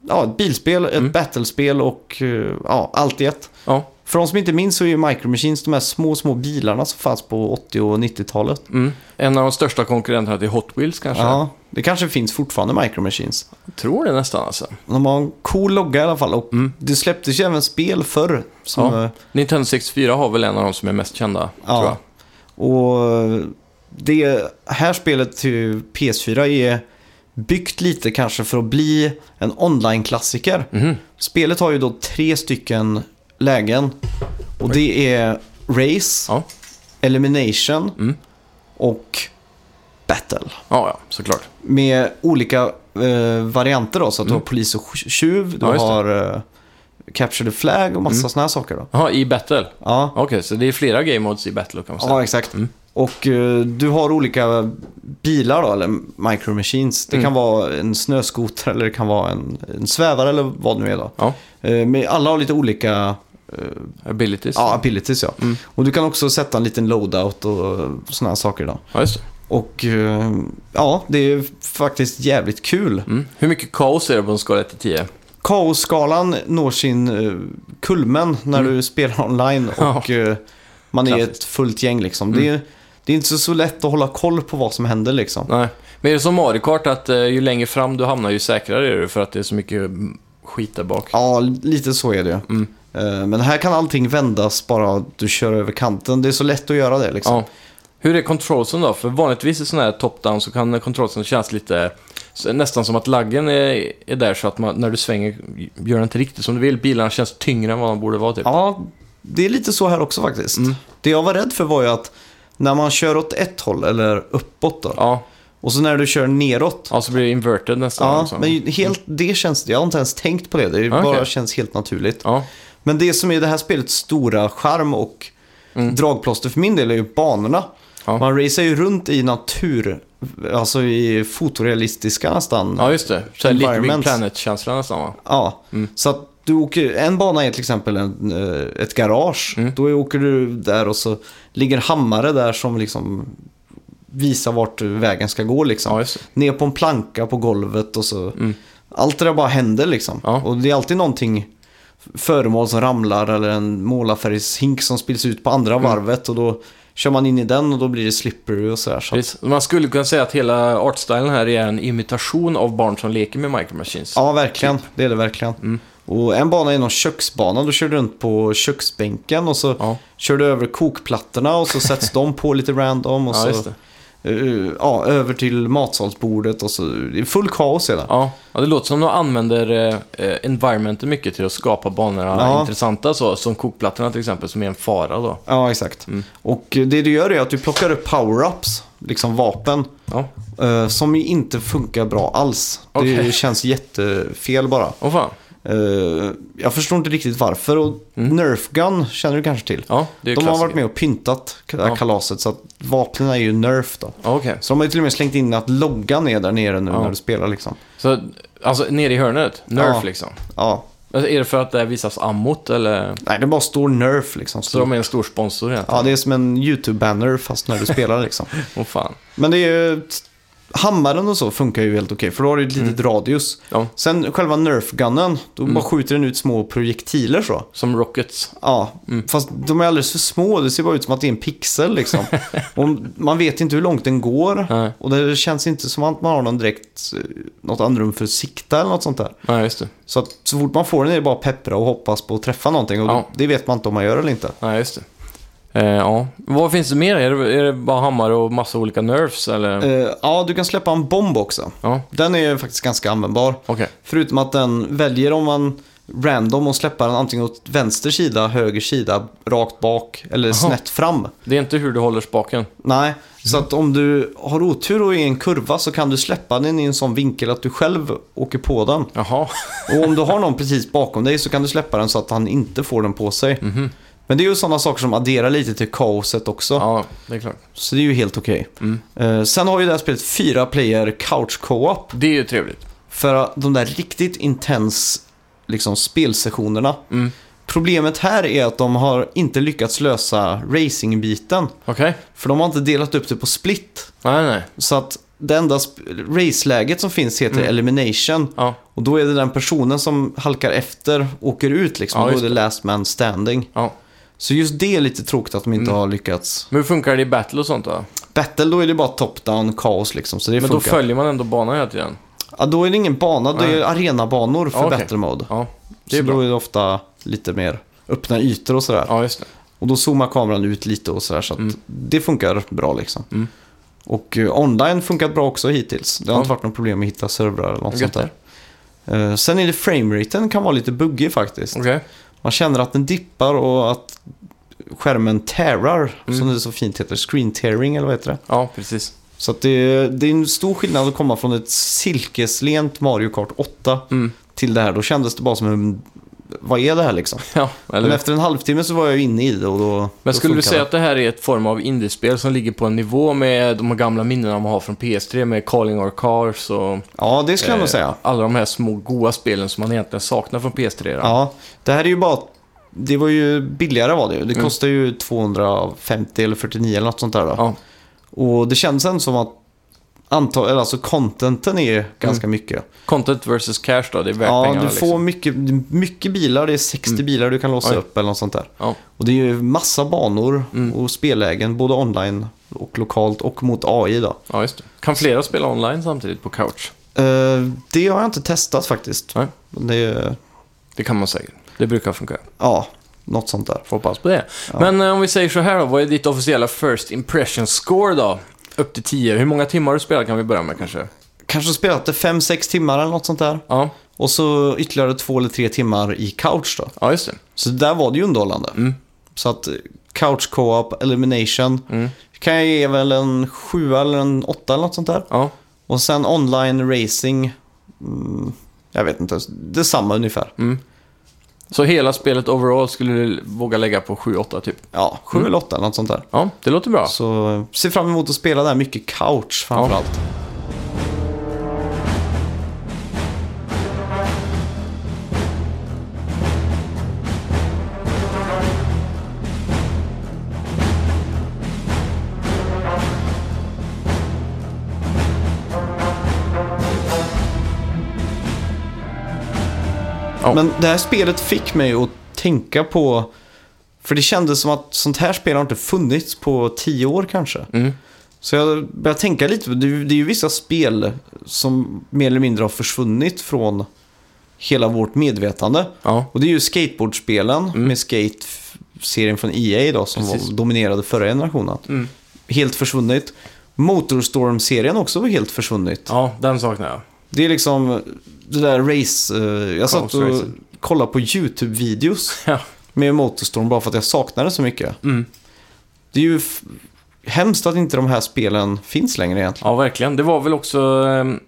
S1: ja, ett bilspel, ett
S2: Mm.
S1: battlespel och eh, ja, allt i ett.
S2: Ja.
S1: För de som inte minns så är ju Micro Machines de här små, små bilarna som fanns på 80 och 90-talet.
S2: Mm. En av de största konkurrenterna till Hot Wheels kanske?
S1: Ja, det kanske finns fortfarande Micro Machines.
S2: Jag tror det nästan alltså.
S1: De har en cool logga i alla fall och
S2: Mm.
S1: det släpptes ju även spel förr. Som,
S2: Ja.
S1: eh,
S2: Nintendo 64 har väl en av de som är mest kända,
S1: Ja.
S2: tror jag.
S1: Och eh, det här spelet till PS4 är byggt lite kanske för att bli en online-klassiker.
S2: Mhm.
S1: Spelet har ju då tre stycken lägen. Och det är Race,
S2: Ja.
S1: Elimination
S2: Mm.
S1: och Battle.
S2: ja, ja, såklart.
S1: Med olika eh, varianter då. Så att du
S2: Mm.
S1: har Polis och Tjuv, du
S2: Ja, just det. Mm.
S1: har eh, Capture the Flag och massa såna här saker då.
S2: Jaha, i Battle?
S1: Ja,
S2: Okej, så det är flera game modes i Battle kan man säga.
S1: ja exakt. Och eh, du har olika bilar då, eller micro machines. Det
S2: Mm.
S1: kan vara en snöskoter eller det kan vara en, en svävare eller vad det nu är då.
S2: Ja.
S1: Eh, men alla har lite olika
S2: Abilities.
S1: Ja, abilities ja.
S2: Mm.
S1: Och du kan också sätta en liten loadout och sådana här saker då.
S2: ja, just det.
S1: Och eh, ja, det är faktiskt jävligt kul.
S2: Mm. Hur mycket kaos är det på en skala 1-10?
S1: Kaosskalan når sin eh, kulmen när
S2: Mm.
S1: du spelar online
S2: Ja.
S1: och eh, man är
S2: Klassiskt. Mm.
S1: ett fullt gäng liksom. Det, är, det är inte så, så lätt att hålla koll på vad som händer liksom.
S2: Nej. Men är det som Mario Kart att eh, ju längre fram du hamnar ju säkrare är du för att det är så mycket mm, skit där bak?
S1: Ja, lite så är det ju.
S2: Mm.
S1: Eh, Men här kan allting vändas bara du kör över kanten. Det är så lätt att göra det liksom.
S2: Ja. Hur är controlsen då? För vanligtvis i sådana här top-down så kan controlsen kännas lite... så- Nästan som att laggen är, är där så att man, när du svänger gör den inte riktigt som du vill. Bilarna känns tyngre än vad de borde vara typ. Mm.
S1: Ja, det är lite så här också faktiskt. Det jag var rädd för var ju att när man kör åt ett håll, eller uppåt då,
S2: Ja,
S1: och så när du kör neråt.
S2: ja så blir det inverted nästan.
S1: Ja,
S2: liksom.
S1: men ju- helt, det känns, jag har inte ens tänkt på det. Det
S2: Okej.
S1: bara känns helt naturligt.
S2: ja.
S1: Men det som är det här spelets stora charm och dragplåster för min del är ju banorna.
S2: Mm. Ja.
S1: Man racear ju runt i natur, alltså i fotorealistiska nästan.
S2: ja, just det. Så här lite Big
S1: Environment.
S2: Planet-känsla nästan va?
S1: Ja,
S2: Mm.
S1: så att du åker, en bana är till exempel en, eh, ett garage.
S2: Mm.
S1: Då åker du där och så ligger en hammare där som liksom visar vart vägen ska gå liksom.
S2: Ja, just det.
S1: Ner på en planka på golvet och så. Allt det där bara händer liksom.
S2: Mm. Ja.
S1: Och det är alltid någonting föremål som ramlar eller en målarfärgshink som spills ut på andra
S2: Mm.
S1: varvet och då kör man in i den och då blir det slippery och sådär. Så att-
S2: Precis. Man skulle kunna säga att hela artstylen här är en imitation av barn som leker med Micro Machines.
S1: Ja, verkligen. Det är det verkligen.
S2: Mm.
S1: Och en bana är någon köksbana. Då kör du runt på köksbänken och så
S2: Ja.
S1: kör du över kokplattorna och så sätts de på lite random. Och
S2: Ja,
S1: så,
S2: just det.
S1: eh, ja, över till matsalsbordet och så. Det är full kaos är det.
S2: Ja, ja, det låter som de använder eh, eh, environmentet mycket till att skapa banorna
S1: Ja.
S2: intressanta så, som kokplattorna till exempel, som är en fara då.
S1: Ja, exakt.
S2: Mm.
S1: Och det du gör är att du plockar upp power-ups, liksom vapen,
S2: Ja,
S1: eh, som ju inte funkar bra alls.
S2: Okej.
S1: Det känns jättefel bara.
S2: åh fan.
S1: Eh, jag förstår inte riktigt varför. Och Nerf Gun känner du kanske till?
S2: Mm. Ja, det är ju
S1: De har
S2: klassiker.
S1: varit med och pyntat det här
S2: Ja.
S1: kalaset så att vapnen är ju nerf då.
S2: Ja, okej.
S1: Så de har ju till och med slängt in att loggan är där nere nu
S2: Ja.
S1: när du spelar liksom.
S2: Så, alltså nere i hörnet, Nerf
S1: Ja.
S2: liksom.
S1: Ja,
S2: Alltså, är det för att det visas ammot eller?
S1: nej det bara står nerf liksom.
S2: Så de är en stor sponsor egentligen?
S1: Ja, det är som en YouTube-banner fast när du spelar liksom.
S2: Åh fan.
S1: Men det är ju... Hammaren och så funkar ju helt okej för då har du ett litet radius.
S2: Mm. Ja, Mm.
S1: Sen själva nerf-gunnen, då bara skjuter den ut små projektiler så.
S2: som rockets.
S1: Ja,
S2: Mm.
S1: fast de är alldeles för små. Det ser bara ut som att det är en pixel liksom. och man vet inte hur långt den går.
S2: Nej.
S1: Och det känns inte som att man har någon direkt, eh, något andrum för att sikta eller något sånt där.
S2: Nej, just det.
S1: Så att så fort man får den är det bara att peppra och hoppas på att träffa någonting. Och
S2: Ja.
S1: det vet man inte om man gör eller inte.
S2: Nej, just det. Eh, ja. Vad finns det mer? Är det, är det bara hammare och massa olika nerfs eller?
S1: Eh, ja, du kan släppa en bomb också.
S2: Ja,
S1: Den är ju faktiskt ganska användbar.
S2: okej.
S1: Förutom att den väljer om man random och släpper den antingen åt vänster sida, höger sida, rakt bak eller snett fram.
S2: Det är inte hur du håller spaken?
S1: Nej, så att om du har otur och är i en kurva så kan du släppa den i en sån vinkel att du själv åker på den.
S2: Jaha.
S1: Och om du har någon precis bakom dig så kan du släppa den så att han inte får den på sig. Men det är ju sådana saker som adderar lite till kaoset också.
S2: Ja, det är klart.
S1: Så det är ju helt okej. Eh, sen har ju det här spelet fyra player couch co-op.
S2: Det är ju trevligt.
S1: För att de där riktigt intens liksom, spelsessionerna.
S2: Mm.
S1: Problemet här är att de har inte lyckats lösa racingbiten.
S2: Okej.
S1: För de har inte delat upp det på split.
S2: Nej, nej.
S1: Så att det enda sp- raceläget som finns heter
S2: Mm.
S1: elimination.
S2: Ja.
S1: Och då är det den personen som halkar efter åker ut liksom.
S2: Ja,
S1: då är
S2: just
S1: det
S2: det.
S1: last man standing.
S2: ja. Mm.
S1: Så just det är lite tråkigt att de inte har lyckats.
S2: Men hur funkar det i battle och sånt då?
S1: Battle, då är det bara top-down kaos liksom. Så det
S2: Men då
S1: funkar.
S2: följer man ändå banan hela tiden?
S1: ja, då är det ingen bana, det är arenabanor för
S2: Ja, okej.
S1: battle mode.
S2: Ja, det är
S1: så då
S2: bra.
S1: är det ofta lite mer öppna ytor och sådär.
S2: Ja, just det.
S1: Och då zoomar kameran ut lite och sådär. Så att
S2: Mm.
S1: det funkar bra liksom. Och eh, online funkat bra också hittills. Det har
S2: Ja.
S1: inte varit något problem att hitta servrar eller något
S2: Gött
S1: sånt där. Eh, sen är det frameraten kan vara lite buggig faktiskt.
S2: Okej.
S1: Man känner att den dippar och att skärmen tärar,
S2: Mm.
S1: som det så fint heter. Screen tearing eller vad heter det?
S2: Ja, precis.
S1: Så att det, det är en stor skillnad att komma från ett silkeslent Mario Kart 8
S2: Mm.
S1: till det här. Då kändes det bara som en... Vad är det här liksom?
S2: Ja, eller
S1: Men
S2: hur?
S1: efter en halvtimme så var jag ju inne i det och då... då
S2: Men skulle du
S1: funkar
S2: säga
S1: det.
S2: att det här är ett form av indiespel som ligger på en nivå med de gamla minnena man har från PS3 med Calling Our Cars och
S1: Ja, det skulle jag nog
S2: eh,
S1: säga.
S2: alla de här små goa spelen som man egentligen saknar från PS3? då?
S1: Ja, det här är ju bara... Det var ju billigare var det ju. Det
S2: Mm.
S1: kostar ju 250 eller 49 eller något sånt där då.
S2: ja.
S1: Och det känns ändå som att antal, eller alltså contenten är ju ganska mycket.
S2: Content versus cash då, det är Mm. värt
S1: Ja,
S2: pengarna
S1: du får
S2: liksom. Mm.
S1: mycket, mycket bilar. Det är 60 bilar du kan låsa
S2: Oj. Mm.
S1: upp eller något sånt där.
S2: Ja.
S1: Och det är ju massa banor och spellägen, både online och lokalt och mot AI då.
S2: ja, just det. Kan flera spela online samtidigt på couch?
S1: Eh, det har jag inte testat faktiskt.
S2: Nej.
S1: Men Det är,
S2: Det kan man säkert. Det brukar funka.
S1: ja, något sånt där.
S2: Får hoppas på det. Men eh, om vi säger så här då, vad är ditt officiella first impression score då? Upp till 10. Hur många timmar har du spelat kan vi börja med kanske?
S1: Kanske spelat det 5-6 timmar eller något sånt där.
S2: Ja,
S1: Och så ytterligare två eller tre timmar i couch då.
S2: ja just det.
S1: Så där var det ju underhållande. Så att eh, couch co-op, elimination. Kan jag ge väl en sjua eller en åtta eller något sånt där.
S2: Ja,
S1: Och sen online racing. Mm, jag vet inte. Det är samma ungefär.
S2: så hela spelet overall skulle du våga lägga på 7-8 typ?
S1: Ja, sju eller åtta eller något sånt där.
S2: Ja, det låter bra.
S1: Så eh, ser fram emot att spela där mycket couch framförallt.
S2: Ja, Ja.
S1: Men det här spelet fick mig att tänka på... För det kändes som att sånt här spel har inte funnits på tio år kanske.
S2: Mm.
S1: Så jag började tänka lite. Det är det är ju vissa spel som mer eller mindre har försvunnit från hela vårt medvetande.
S2: Ja. Mm.
S1: Och det är ju skateboardspelen med Skate-serien från EA då som
S2: Precis.
S1: var, dominerade förra generationen.
S2: Mm.
S1: Helt försvunnit. Motorstorm-serien också var helt försvunnit.
S2: ja, den saknar jag.
S1: Det är liksom det där race... eh, jag satt
S2: Kaos
S1: och
S2: racing.
S1: kollade på YouTube-videos
S2: Ja.
S1: med Motorstorm bara för att jag saknade så mycket.
S2: Mm.
S1: Det är ju f- hemskt att inte de här spelen finns längre egentligen.
S2: ja, verkligen. Det var väl också ehm,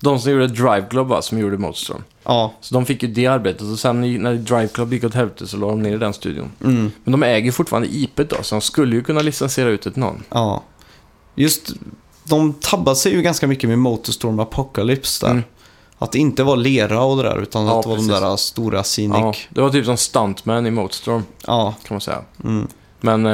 S2: de som gjorde Drive Club va, som gjorde Motorstorm.
S1: Ja,
S2: Så de fick ju det arbetet och sen i- när Drive Club gick åt helvete så la de ner den studion.
S1: mm,
S2: Men de äger fortfarande IP då, så de skulle ju kunna licensiera ut det till någon.
S1: ja. Just, de tabbade sig ju ganska mycket med Motorstorm Apocalypse där.
S2: Mm.
S1: Att det inte var lera och det där, utan
S2: Ja,
S1: att det var
S2: precis.
S1: de där stora Scenic.
S2: Ja,
S1: Ja.
S2: det var typ som Stuntman i Motorstorm, kan man säga.
S1: mm.
S2: Men eh,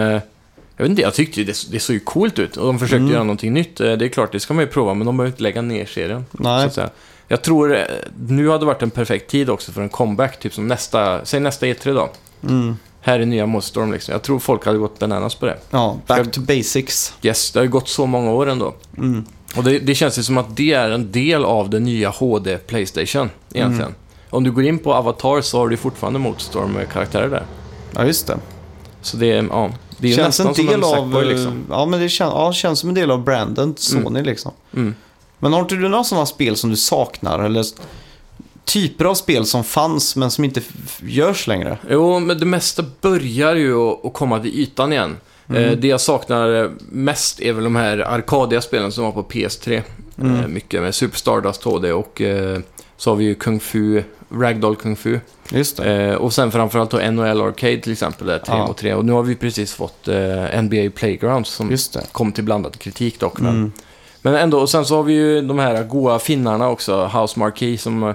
S2: jag vet inte, jag tyckte ju det, det såg ju coolt ut och de försökte
S1: Mm.
S2: göra någonting nytt. Eh, Det är klart, det ska man ju prova, men de behöver inte lägga ner serien. Så
S1: Nej,
S2: att säga. Jag tror eh, nu hade det varit en perfekt tid också för en comeback, typ som nästa, säg nästa E3 då.
S1: mm.
S2: Här är nya Motorstorm liksom. Jag tror folk hade gått bananas på det.
S1: ja, back to basics.
S2: Yes, det har ju gått så många år ändå.
S1: Mm.
S2: Och det, det känns ju som att det är en del av det nya HD Playstation egentligen.
S1: Mm.
S2: Om du går in på Avatar så har du fortfarande Motorstorm-karaktärer där.
S1: Ja, just det.
S2: Så det, är- ja, det är ju
S1: känns
S2: nästan
S1: en del
S2: som en
S1: av, eh,
S2: Sackboy liksom.
S1: ja, men det känns, ja, känns som en del av branden Sony liksom.
S2: Mm.
S1: Men har inte du några sådana spel som du saknar? Eller s- typer av spel som fanns men som inte f- görs längre?
S2: Jo, men det mesta börjar ju att- att komma till ytan igen. Eh,
S1: Mm.
S2: Det jag saknar eh, mest är väl de här Arcadia-spelen som var på PS3. Eh,
S1: Mm.
S2: Mycket med Super Stardust HD och eh, så har vi ju Kung Fu, Ragdoll Kung Fu.
S1: Just det.
S2: Eh, och sen framförallt då NHL Arcade till exempel, där 3
S1: Ja.
S2: mot 3. Och nu har vi precis fått eh, NBA Playgrounds som
S1: Just det.
S2: kom till blandad kritik dock. Men,
S1: Mm.
S2: men ändå, och sen så har vi ju de här goa finnarna också, House Marquee, som eh,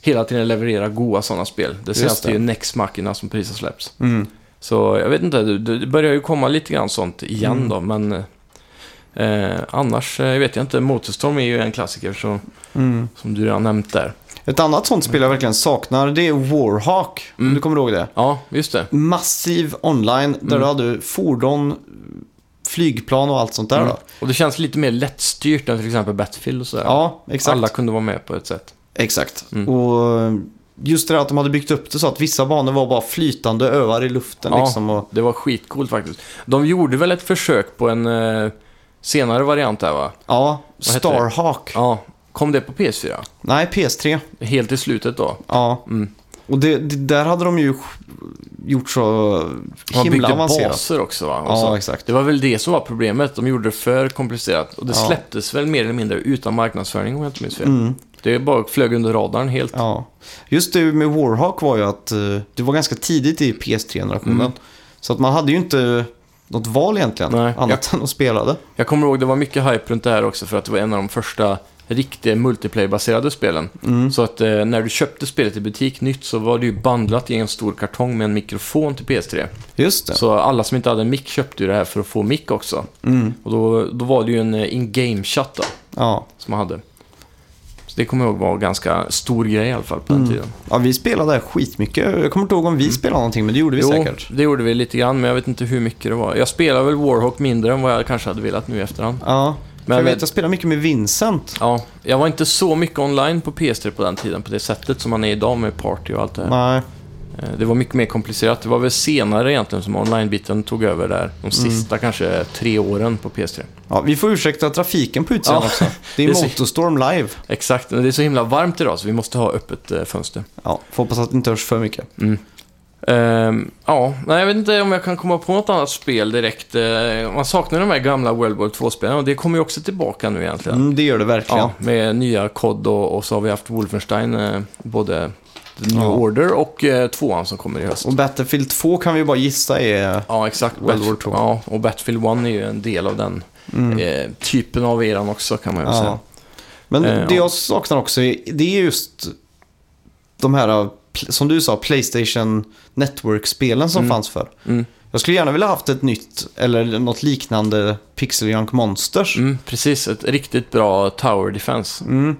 S2: hela tiden levererar goa sådana spel. Det senaste är
S1: det.
S2: ju Next Machina som precis har släppts.
S1: Mm.
S2: Så jag vet inte, det det börjar ju komma lite grann sånt igen
S1: Mm.
S2: då, men eh, annars eh, vet jag inte. Motorstorm är ju en klassiker så,
S1: Mm.
S2: som du redan nämnt där.
S1: Ett annat sånt spel jag verkligen saknar det är Warhawk.
S2: Mm.
S1: Om du kommer ihåg det.
S2: Ja, just det.
S1: Massiv online där
S2: Mm.
S1: du hade fordon, flygplan och allt sånt där. Då.
S2: Och det känns lite mer lättstyrt än till exempel Battlefield och sådär.
S1: Ja, exakt.
S2: Alla Mm. kunde vara med på ett sätt.
S1: Exakt. Och eh, just det där att de hade byggt upp det så att vissa banor var bara flytande öar i luften.
S2: Ja.
S1: Liksom, och,
S2: Det var skitcoolt faktiskt. De gjorde väl ett försök på en eh, senare variant där va?
S1: ja
S2: Vad heter det?
S1: Starhawk.
S2: Ja. Kom det på PS4?
S1: Nej, PS3.
S2: Helt i slutet då?
S1: Ja.
S2: Mm.
S1: Och det, det, där hade de ju sj- gjort så
S2: Man
S1: himla
S2: byggde
S1: avancerat.
S2: baser också va? Och så.
S1: Ja, exakt.
S2: Det var väl det som var problemet. De gjorde det för komplicerat. Och det
S1: Ja.
S2: släpptes väl mer eller mindre utan marknadsföring om jag inte minns fel.
S1: Mm.
S2: Det bara flög under radarn helt.
S1: Ja. Just det med Warhawk var ju att eh, det var ganska tidigt i PS3-generationen.
S2: Mm.
S1: Så att man hade ju inte något val egentligen,
S2: Nej.
S1: annat än att spela det.
S2: Jag kommer ihåg det var mycket hype runt det här också för att det var en av de första riktiga multiplayer-baserade spelen.
S1: Mm.
S2: Så att eh, när du köpte spelet i butik nytt så var det ju bandlat i en stor kartong med en mikrofon till PS3.
S1: Just det.
S2: Så alla som inte hade en mick köpte ju det här för att få mick också.
S1: Mm.
S2: Och då, då var det ju en eh, in-game-chatt då,
S1: Ja.
S2: som man hade. Så det kommer jag ihåg var en ganska stor grej i alla fall på
S1: Mm.
S2: den tiden.
S1: ja, vi spelade det här skitmycket. Jag kommer inte ihåg om vi spelade någonting, men det gjorde vi
S2: Mm. jo,
S1: säkert.
S2: det gjorde vi lite grann, men jag vet inte hur mycket det var. Jag spelar väl Warhawk mindre än vad jag kanske hade velat nu i efterhand.
S1: Ja.
S2: Men-
S1: Men, jag vet,
S2: men-
S1: jag spelade mycket med Vincent.
S2: Ja, jag var inte så mycket online på PS3 på den tiden, på det sättet som man är idag med party och allt det här.
S1: Nej.
S2: Eh, Det var mycket mer komplicerat. Det var väl senare egentligen som online-biten tog över där.
S1: Mm.
S2: De sista kanske tre åren på PS3.
S1: Ja, vi får ursäkta trafiken på utsidan
S2: Ja.
S1: också. Det
S2: Det är
S1: är
S2: så-
S1: Motorstorm live.
S2: Exakt, men det är så himla varmt idag så vi måste ha öppet eh, fönster.
S1: Ja, får hoppas att det inte hörs för mycket.
S2: Ehm, ja, nej, jag vet inte om jag kan komma på något annat spel direkt. Eh, man saknar de här gamla World War 2-spelen och det kommer ju också tillbaka nu egentligen.
S1: Mm, det gör det verkligen.
S2: Ja, med nya kod och, och så har vi haft Wolfenstein, eh, både The New
S1: Ja.
S2: Order och eh, tvåan som kommer i höst.
S1: Och Battlefield 2 kan vi ju bara gissa är...
S2: Ja, exakt.
S1: World
S2: Bat-
S1: War 2.
S2: Ja, och Battlefield 1 är ju en del av den eh, typen av eran också kan man ju säga.
S1: Ja. Men
S2: Eh,
S1: det
S2: ja.
S1: jag saknar också är, det är just de här, pl- som du sa, Playstation Network-spelen som fanns för.
S2: Mm.
S1: Jag skulle gärna vilja haft ett nytt eller något liknande Pixel Junk Monsters.
S2: Mm, precis, ett riktigt bra Tower Defense.
S1: Mm.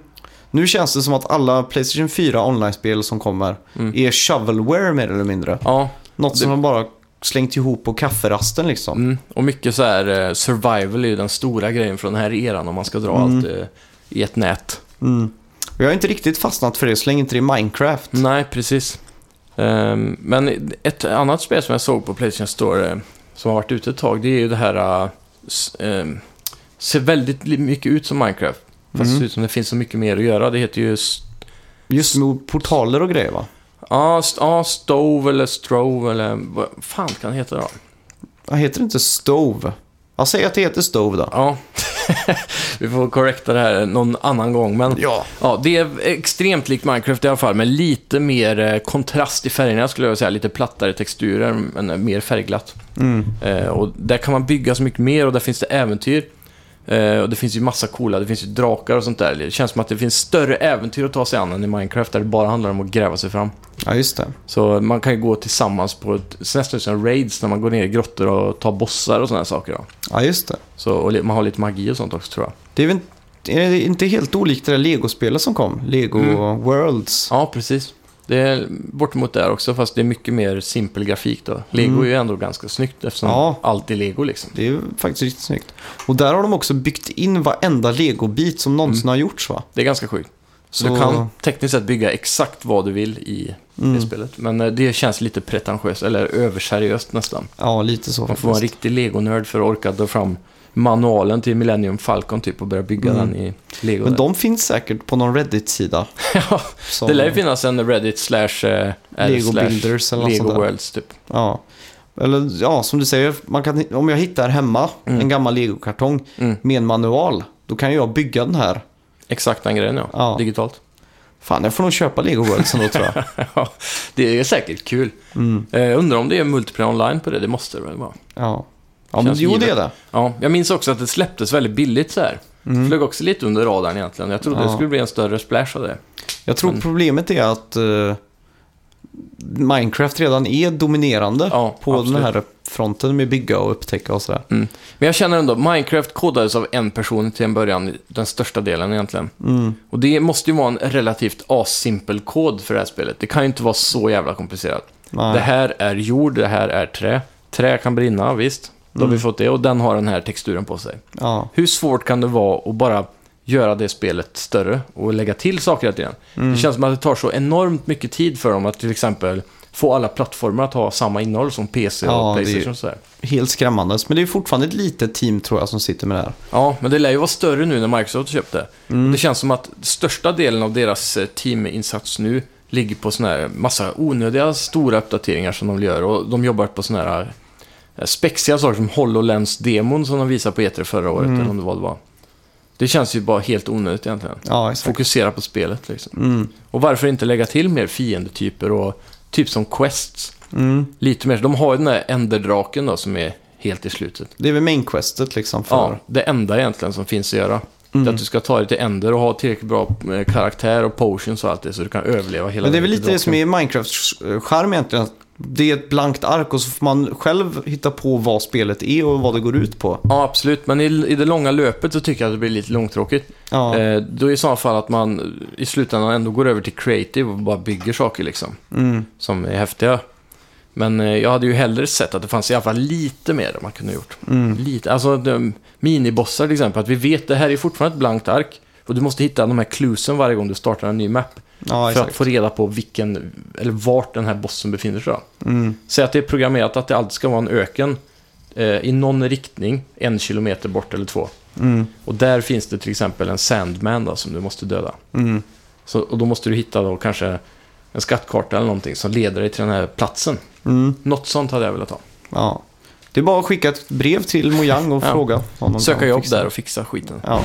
S1: Nu känns det som att alla Playstation 4 online-spel som kommer
S2: Mm.
S1: är shovelware mer eller mindre.
S2: Ja,
S1: Något som de bara slängt ihop på kafferasten liksom.
S2: mm. och mycket så här eh, survival är ju den stora grejen från den här eran om man ska dra allt eh, i ett nät.
S1: Mm. Och Jag har inte riktigt fastnat för det så länge inte det är Minecraft.
S2: Nej, precis. Ehm, men ett annat spel som jag såg på Playstation Store eh, som har varit ute ett tag, det är ju det här... eh, s- ehm, ser väldigt li- mycket ut som Minecraft. Fast
S1: Mm.
S2: det ser ut som det finns så mycket mer att göra. Det heter ju... s-
S1: Just med portaler och grejer va?
S2: Ja, st- ja, Stove eller Strove eller vad fan kan det heta då?
S1: Jag heter det inte Stove? Jag säger att det heter Stove då.
S2: Ja, vi får korrekta det här någon annan gång. Men
S1: Ja.
S2: ja, det är extremt likt Minecraft i alla fall, men lite mer eh, kontrast i färgerna skulle jag vilja säga. Lite plattare texturer, men eh, mer färgglatt.
S1: Mm.
S2: Eh, och där kan man bygga så mycket mer och där finns det äventyr. Eh, och det finns ju massa coola, det finns ju drakar och sånt där. Det känns som att det finns större äventyr att ta sig an än i Minecraft, där det bara handlar om att gräva sig fram.
S1: Ja, just det.
S2: Så man kan ju gå tillsammans på ett, nästan som raids när man går ner i grottor och tar bossar och sådana här saker. Då.
S1: Ja, just det.
S2: Så, och li- man har lite magi och sånt också tror jag.
S1: Det är väl är det inte helt olikt det där Lego-spelet som kom? Lego
S2: Mm.
S1: Worlds.
S2: Ja, precis. Det är bortemot där också, fast det är mycket mer simpel grafik då. Lego är ju ändå ganska snyggt eftersom
S1: Ja.
S2: allt är lego liksom.
S1: Det är ju faktiskt riktigt snyggt. Och där har de också byggt in varenda Lego-bit som
S2: Mm.
S1: någonsin har gjorts va?
S2: Det är ganska sjukt. Så, du
S1: Så-
S2: kan tekniskt sett bygga exakt vad du vill i det spelet. Men eh, det känns lite pretentiöst, eller överseriöst nästan.
S1: Ja, lite så
S2: Man får vara en riktig legonörd för att orka dra fram manualen till Millennium Falcon typ och börja bygga
S1: Mm.
S2: den i lego.
S1: Men
S2: där.
S1: de finns säkert på någon Reddit-sida.
S2: Ja,
S1: som-
S2: det lär ju finnas en Reddit slash... eh, r
S1: Lego
S2: slash
S1: Builders eller något
S2: Lego
S1: sånt där.
S2: Worlds typ.
S1: Ja. Eller ja, som du säger, man kan, om jag hittar hemma en gammal legokartong
S2: Mm.
S1: med en manual, då kan ju jag bygga den här.
S2: Exakt den grejen ja,
S1: Ja.
S2: digitalt.
S1: Fan, jag får nog köpa Lego Worlds ändå tror jag.
S2: Ja, det är säkert kul.
S1: Mm.
S2: Eh, undrar om det är multiplayer online på det, det måste det väl vara.
S1: Ja, ja men
S2: Känns
S1: jo det är
S2: givet.
S1: det.
S2: Ja, jag minns också att det släpptes väldigt billigt så här. Flög också lite under radarn egentligen. Jag trodde det
S1: Mm. Ja.
S2: skulle bli en större splash av det.
S1: Jag
S2: Mm.
S1: tror problemet är att eh, Minecraft redan är dominerande
S2: Ja,
S1: på
S2: absolut.
S1: den här fronten med bygga och upptäcka och sådär.
S2: Mm. Men jag känner ändå, Minecraft kodades av en person till en början, den största delen egentligen.
S1: Mm.
S2: Och det måste ju vara en relativt asimpel kod för det här spelet. Det kan ju inte vara så jävla komplicerat.
S1: Nej.
S2: Det här är jord, det här är trä. Trä kan brinna, visst. Då
S1: Mm.
S2: har vi fått det och den har den här texturen på sig.
S1: Ja.
S2: Hur svårt kan det vara att bara göra det spelet större och lägga till saker hela tiden?
S1: Mm.
S2: Det känns som att det tar så enormt mycket tid för dem att till exempel få alla plattformar att ha samma innehåll som PC och
S1: Ja, det är ju-
S2: Playstation och sådär.
S1: Helt skrämmande. Men det är fortfarande ett litet team tror jag som sitter med det här.
S2: Ja, men det lär ju vara större nu när Microsoft köpte.
S1: Mm.
S2: Det känns som att största delen av deras eh, teaminsats nu ligger på såna här massa onödiga stora uppdateringar som de gör och de jobbar på såna här eh, spexiga saker som HoloLens-demon som de visade på E3 förra året
S1: Mm.
S2: eller om det var det var. Det känns ju bara helt onödigt egentligen.
S1: Ja, Mm. exakt.
S2: Fokusera på spelet liksom. Och varför inte lägga till mer fiendetyper och typ som quests.
S1: Mm.
S2: Lite mer, de har ju den där änderdraken då som är helt i slutet.
S1: Det är väl mainquestet liksom för...
S2: Ja, det enda egentligen som finns att göra. Det är
S1: Mm.
S2: att du ska ta dig till änder och ha tillräckligt bra eh, karaktär och potions och allt det så du kan överleva hela
S1: Men det är
S2: vägen
S1: väl
S2: till
S1: lite det som
S2: draken.
S1: är Minecrafts eh, charm egentligen. Det är ett blankt ark och så får man själv hitta på vad spelet är och vad det går ut på.
S2: Ja, absolut. Men i, i det långa löpet så tycker jag att det blir lite långtråkigt.
S1: Ja,
S2: Eh, då är i så fall att man i slutändan ändå går över till creative och bara bygger saker liksom.
S1: mm.
S2: Som är häftiga. Men eh, jag hade ju hellre sett att det fanns i alla fall lite mer man kunde ha gjort.
S1: Mm.
S2: Lite, alltså de, minibossar till exempel. Att vi vet, det här är fortfarande ett blankt ark. Och du måste hitta de här cluesen varje gång du startar en ny map.
S1: ja
S2: för att
S1: exakt.
S2: få reda på vilken, eller vart den här bossen befinner sig. då.
S1: Mm.
S2: Säg att det är programmerat att det alltid ska vara en öken eh, i någon riktning, en kilometer bort eller två.
S1: Mm.
S2: Och där finns det till exempel en Sandman då, som du måste döda.
S1: Mm.
S2: Så, och då måste du hitta då kanske en skattkarta eller någonting som leder dig till den här platsen.
S1: Mm.
S2: Något sånt hade jag velat ha.
S1: Ja. Det är bara att skicka ett brev till Mojang och
S2: Ja.
S1: fråga honom.
S2: Söka jobb
S1: fixa.
S2: där och fixa skiten.
S1: Ja.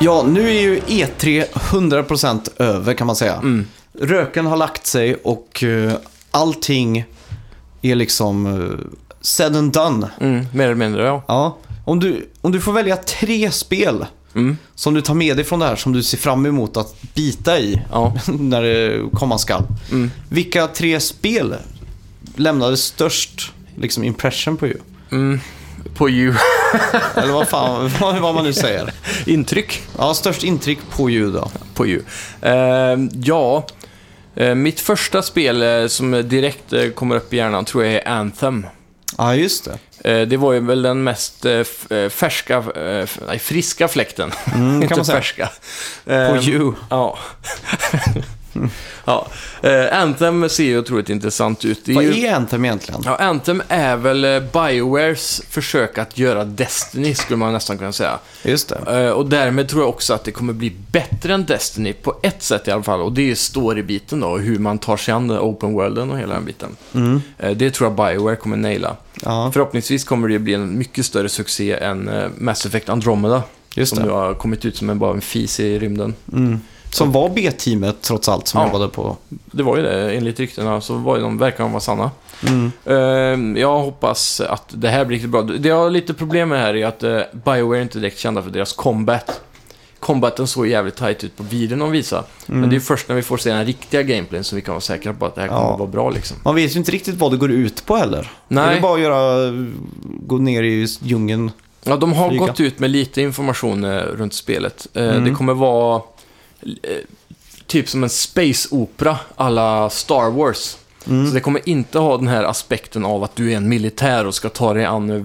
S1: Ja, nu är ju E E3 100% över kan man säga. Röken har lagt sig och eh, allting är liksom eh, said and done.
S2: Mm, mer eller mindre, ja.
S1: Ja, Om du, om du får välja tre spel
S2: Mm.
S1: som du tar med dig från det här som du ser fram emot att bita i
S2: Ja. Mm.
S1: när det komma skall. Vilka tre spel lämnade störst liksom, impression på you?
S2: På ju
S1: Eller vad fan, vad vad man nu säger.
S2: Intryck?
S1: Ja, störst intryck på you då.
S2: På ju Ehm, ja, Eh, mitt första spel eh, som direkt eh, kommer upp i hjärnan tror jag är Anthem.
S1: Ja, just det.
S2: Eh, Det var ju väl den mest eh, f- eh, färska, eh, f- nej, friska fläkten. Inte
S1: Mm, kan man säga.
S2: färska. Eh,
S1: På you.
S2: Ja. ja. Eh, Anthem ser ju otroligt intressant ut. Det är
S1: Vad
S2: ju...
S1: är Anthem egentligen?
S2: Ja, Anthem är väl eh, Biowares försök att göra Destiny, skulle man nästan kunna säga.
S1: Just det.
S2: Eh, Och därmed tror jag också att det kommer bli bättre än Destiny, på ett sätt i alla fall. Och det är ju storybiten då, och hur man tar sig an den open worlden och hela den biten. Eh, Det tror jag Bioware kommer naila.
S1: Mm. Ja,
S2: Förhoppningsvis kommer det ju bli en mycket större succé än eh, Mass Effect Andromeda.
S1: Just
S2: som
S1: det.
S2: ju har kommit ut som en, bara en fis i rymden.
S1: som var B-teamet trots allt som
S2: Ja.
S1: jobbade på.
S2: Det var ju det, enligt ryktena så var ju de, verkar de vara sanna. Eh, jag hoppas att det här blir riktigt bra. Det jag har lite problem med här är att eh, Bioware är inte direkt kända för deras combat. Combaten såg jävligt tight ut på videon de visade. Men det är först när vi får se den riktiga gameplayen som vi kan vara säkra på att det här kommer
S1: Ja.
S2: att vara bra liksom.
S1: Man vet ju inte riktigt vad det går ut på heller.
S2: Nej.
S1: Är det bara att göra, gå ner i djungeln?
S2: Ja, de har
S1: Flyga.
S2: gått ut med lite information eh, runt spelet. Eh, Det kommer vara eh, typ som en space-opera alla Star Wars. Så det kommer inte ha den här aspekten av att du är en militär och ska ta dig an eh,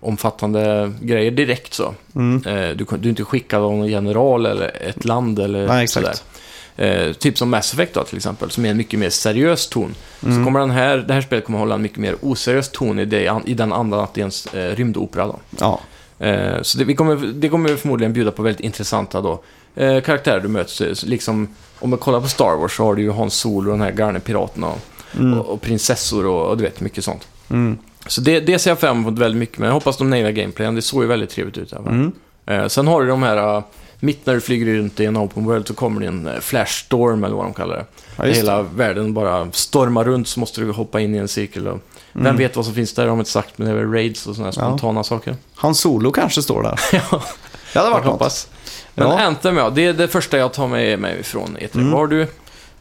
S2: världsomfattande grejer direkt så.
S1: Mm.
S2: Eh, Du, kan- du är inte skickad av någon general eller ett land eller
S1: Nej, exakt.
S2: sådär. Eh, typ som Mass Effect då, till exempel, som är en mycket mer seriös ton.
S1: Mm.
S2: Så kommer den här, det här spelet kommer hålla en mycket mer oseriös ton i, det, i den andan att det är en eh, rymdopera. Då.
S1: Ja.
S2: Eh, så det, vi kommer, det kommer förmodligen bjuda på väldigt intressanta då, eh, karaktärer du möts. eh, Liksom, om man kollar på Star Wars så har du ju Han Solo och den här galne piraten och,
S1: Mm.
S2: och, och prinsessor och, och du vet, mycket sånt. Så det, det ser jag fram emot väldigt mycket, men jag hoppas de nailar gameplayen. Det såg ju väldigt trevligt ut. även.
S1: Mm.
S2: Eh, sen har du de här, eh, mitt när du flyger runt i en open world så kommer det en eh, flashstorm eller vad de kallar det.
S1: Ja, just
S2: Hela världen bara stormar runt så måste du hoppa in i en cirkel. Och, Vem vet vad som finns där, de har inte sagt, men det är väl raids och sådana
S1: Mm. Ja.
S2: spontana saker.
S1: Han Solo kanske står där.
S2: Ja.
S1: Det hade varit något.
S2: Jag hoppas. Men
S1: Ja. Mm.
S2: Anthem, ja. Det är det första jag tar med mig ifrån E3. Vad har du?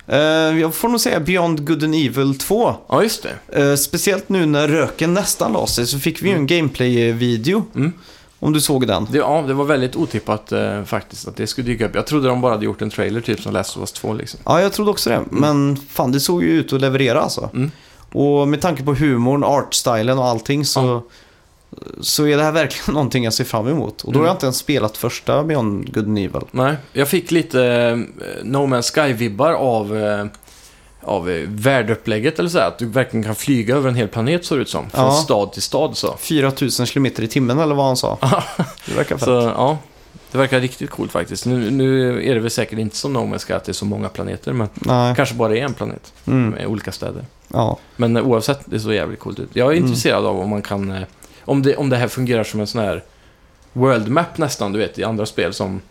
S1: Eh, jag får nog säga Beyond Good and Evil 2.
S2: Ja, just det.
S1: Eh, speciellt nu när röken nästan la sig så fick vi ju en gameplay-video.
S2: Mm.
S1: Om du såg den.
S2: det. Ja, det var väldigt otippat eh, faktiskt att det skulle dyka upp. Jag trodde de bara hade gjort en trailer typ som Last of Us 2 liksom.
S1: Ja, jag trodde också det. Men fan, det såg ju ut att leverera alltså.
S2: Mm.
S1: Och med tanke på humorn, artstylen och allting så, så är det här verkligen någonting jag ser fram emot.
S2: Mm.
S1: Och då har jag inte ens spelat första Beyond Good and Evil.
S2: Nej, jag fick lite eh, No Man's Sky-vibbar av, eh, av eh, världeupplägget eller så här, Att du verkligen kan flyga över en hel planet såg det ut som. Från
S1: Ja.
S2: stad till stad så.
S1: 4000 km i timmen eller vad han sa. Det verkar fett.
S2: Så ja, det verkar riktigt coolt faktiskt. Nu, nu är det väl säkert inte som No Man's Sky att det är så många planeter, men
S1: Nej,
S2: kanske bara är en planet
S1: Mm.
S2: med olika städer.
S1: ja.
S2: Men eh, oavsett, det såg jävligt coolt ut.
S1: Mm.
S2: Jag är intresserad av om man kan... eh, Om det, om det här fungerar som en sån här world map nästan, du vet, i andra spel som...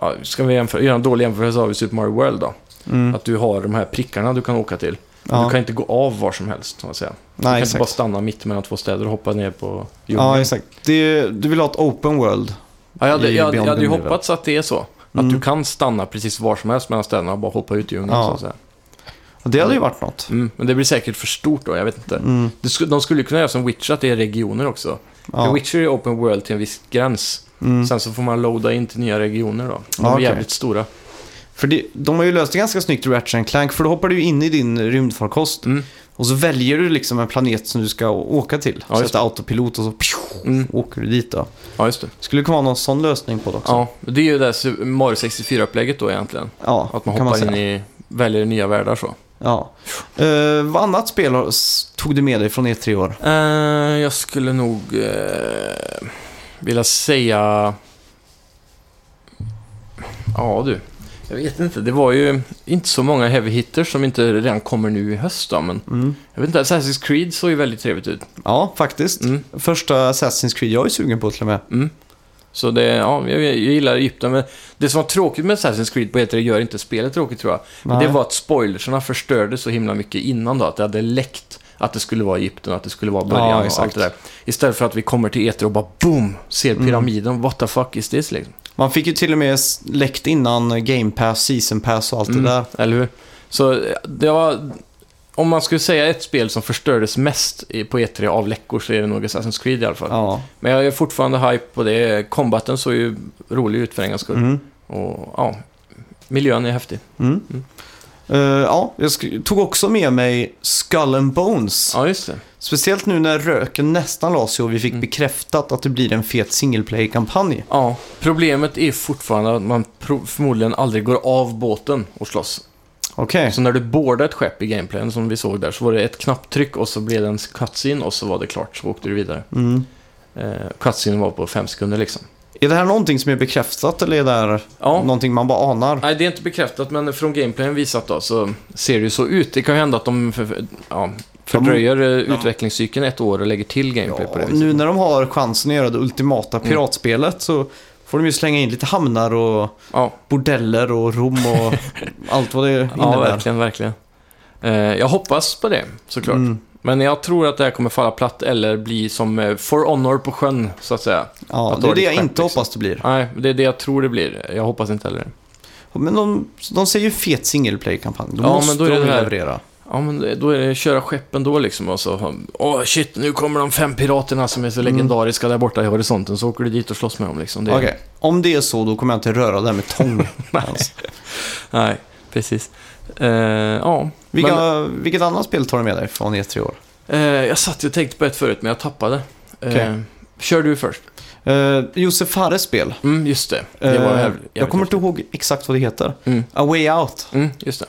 S2: Ja, ska vi jämföra, göra en dålig jämförelse av i Super Mario World då?
S1: Mm.
S2: Att du har de här prickarna du kan åka till.
S1: Ja.
S2: Du kan inte gå av var som helst, så att säga. du kan
S1: Nej,
S2: inte bara
S1: exakt.
S2: stanna mitt mellan två städer och hoppa ner på jorden.
S1: Ja, exakt. Det är, du vill ha ett open world.
S2: Ja, jag, hade,
S1: i
S2: jag, jag
S1: Beyond
S2: hade ju
S1: Good and Evil.
S2: hoppats att det är så. Att du kan stanna precis var som helst mellan städerna och bara hoppa ut i djungeln.
S1: Ja.
S2: Så att säga.
S1: Och Det hade ju varit något.
S2: Mm, men det blir säkert för stort då, jag vet inte.
S1: Mm.
S2: Det sku- De skulle ju kunna göra som Witcher, att det är regioner också. För
S1: Ja. Mm.
S2: Witcher är open world till en viss gräns. Sen så får man loada in till nya regioner då. De
S1: Ja,
S2: är
S1: okej.
S2: jävligt stora.
S1: För det, de har ju löst det ganska snyggt i Ratchet and Clank, för då hoppar du in i din rymdfarkost
S2: Mm.
S1: och så väljer du liksom en planet som du ska å- åka till.
S2: Ja, just
S1: Sätta autopilot och så pju,
S2: Mm.
S1: åker du dit då.
S2: Ja, just det.
S1: Skulle det kunna vara någon sån lösning på det också?
S2: Ja, det är ju det här Super- Mario 64-upplägget då egentligen.
S1: Ja,
S2: Att man
S1: kan
S2: hoppar
S1: säga.
S2: in i, väljer nya världar så.
S1: Ja. Eh, vad annat spel har- s- tog du med dig från E3 i år?
S2: Eh, jag skulle nog eh, vilja säga... Ja, du. Jag vet inte. Det var ju inte så många heavy hitters som inte redan kommer nu i höst då, men... Jag vet inte, Assassin's Creed såg ju väldigt trevligt ut.
S1: Mm. Ja, faktiskt.
S2: Mm.
S1: Första Assassin's Creed jag är sugen på till och med.
S2: Så det, ja, jag, jag gillar Egypten, men det som var tråkigt med Assassin's Creed på E3 gör inte spelet tråkigt tror jag. Men
S1: Nej.
S2: det var att spoilersarna förstörde så himla mycket innan då, att det hade läckt att det skulle vara Egypten, att det skulle vara
S1: Ja,
S2: början och allt
S1: exakt. Mm.
S2: det där. Istället för att vi kommer till Eter och bara boom, ser pyramiden, what the fuck is this liksom.
S1: Man fick ju till och med läckt innan Game Pass, Season Pass och allt
S2: Mm.
S1: det där.
S2: Eller hur? Så eh, det var... Om man skulle säga ett spel som förstördes mest i- på E3 av läckor så är det nog Assassin's Creed i alla fall.
S1: Ja.
S2: Men jag är fortfarande hype på det. Combaten såg ju rolig ut för en gångs skull.
S1: Mm.
S2: Och ja, miljön är häftig.
S1: Mm. Eh, ja, jag sk- tog också med mig Skull and Bones.
S2: Ja, just det.
S1: Speciellt nu när röken nästan la sig och vi fick
S2: Mm.
S1: bekräftat att det blir en fet single play-kampanj.
S2: Ja, problemet är fortfarande att man pro- förmodligen aldrig går av båten och slåss.
S1: Okej.
S2: Så när du boardar ett skepp i gameplayen som vi såg där så var det ett knapptryck och så blev det en cutscene och så var det klart så åkte du vidare.
S1: Mm.
S2: Eh, cutscene var på fem sekunder liksom.
S1: Är det här någonting som är bekräftat eller är det här
S2: Ja,
S1: någonting man bara anar?
S2: Nej, det är inte bekräftat, men från gameplayen visat då så ser det ju så ut. Det kan ju hända att de för, för- ja, fördröjer eh, utvecklingscykeln ett år och lägger till gameplay på det liksom. Mm.
S1: Ja,
S2: viset.
S1: nu när de har chansen att göra det ultimata piratspelet så får de ju slänga in lite hamnar och
S2: Ja,
S1: bordeller och rom och allt vad det innebär.
S2: ja verkligen, verkligen. Eh, jag hoppas på det, såklart.
S1: Mm.
S2: Men jag tror att det här kommer falla platt eller bli som eh, For Honor på sjön, så att säga.
S1: Ja,
S2: Att
S1: det
S2: ha
S1: är det
S2: ditt
S1: jag
S2: skepp,
S1: inte
S2: liksom.
S1: hoppas det blir.
S2: Nej, det är det jag tror det blir. Jag hoppas inte heller
S1: Men de, de säger ju fet single play-kampanj. Då
S2: Ja,
S1: måste
S2: men då är det
S1: de
S2: det här.
S1: leverera.
S2: Ja, men det- då är det köra skeppen då liksom och så... Åh, shit, nu kommer de fem piraterna som är så legendariska där borta i horisonten, så åker du dit och slåss med dem liksom. Det,
S1: Mm. Okej, om det är så då kommer jag inte röra det här med tång.
S2: Alltså.
S1: ens.
S2: Nej, precis. Eh, ja.
S1: Vilka,
S2: Men,
S1: Vilket annat spel tar du med dig från E3 i år?
S2: eh, jag satt ju och tänkte på ett förut, men jag tappade. Eh,
S1: Okej.
S2: Kör du först. Eh,
S1: Uh, Josef Fares spel.
S2: Mm, just det. det var
S1: Eh,
S2: jävligt,
S1: jag kommer
S2: häftigt.
S1: inte ihåg exakt vad det heter.
S2: Mm.
S1: A Way Out.
S2: Mm, just det.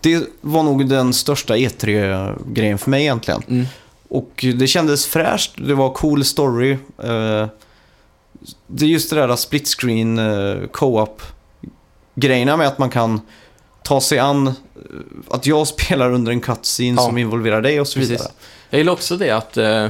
S1: Det var nog den största E3-grejen för mig egentligen.
S2: Mm.
S1: Och det kändes fräscht, det var cool story. eh, det är just det där split screen eh, co-op grejerna med att man kan ta sig an eh, att jag spelar under en cutscene
S2: Ja.
S1: som involverar dig och så
S2: Precis.
S1: vidare.
S2: Jag gillar också det att eh,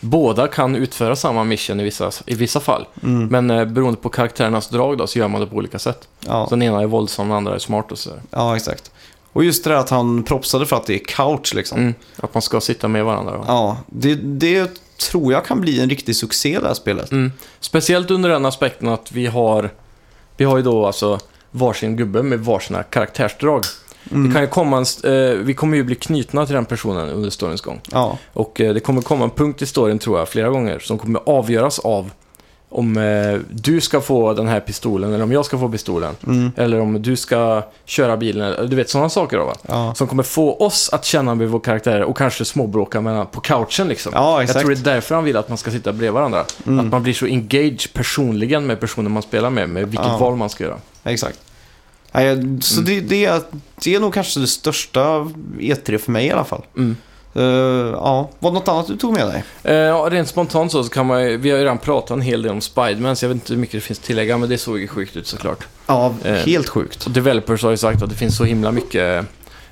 S2: båda kan utföra samma mission i vissa, i vissa fall.
S1: Mm.
S2: Men eh, beroende på karaktärernas drag då, så gör man det på olika sätt.
S1: Ja.
S2: Så den ena är våldsam, den andra är smart och sådär.
S1: ja, exakt. Och just det där att han propsade för att det är couch liksom.
S2: Mm. Att man ska sitta med varandra. Och...
S1: Ja, det, det tror jag kan bli en riktig succé det här spelet.
S2: Mm. Speciellt under den aspekten att vi har, vi har ju då alltså varsin gubbe med varsina karaktärsdrag.
S1: Mm.
S2: Det kan ju komma en, st- eh, vi kommer ju bli knutna till den personen under storyns gång.
S1: Ja,
S2: Och eh, det kommer komma en punkt i storyn, tror jag, flera gånger, som kommer avgöras av om eh, du ska få den här pistolen, eller om jag ska få pistolen.
S1: mm.
S2: Eller om du ska köra bilen, eller- du vet sådana saker då va?
S1: ja.
S2: Som kommer få oss att känna med vår karaktär och kanske småbråka med varandra på couchen liksom.
S1: ja
S2: jag
S1: exakt. Mm.
S2: tror det är därför han vill att man ska sitta bredvid varandra. Att man blir så engaged personligen med personen man spelar med, med vilket
S1: Ja.
S2: val man ska göra.
S1: Exakt. Nej, jag- så det, det, är- det är nog kanske det största E3 för mig i alla fall.
S2: Mm.
S1: Eh, ja, var det något annat du tog med dig?
S2: Eh, ja, rent spontant så, så kan man ju, vi har ju redan pratat en hel del om Spiderman, så jag vet inte hur mycket det finns att tillägga, men det såg ju sjukt ut såklart.
S1: Ja,
S2: Eh.
S1: helt sjukt.
S2: Och developers har ju sagt att det finns så himla mycket,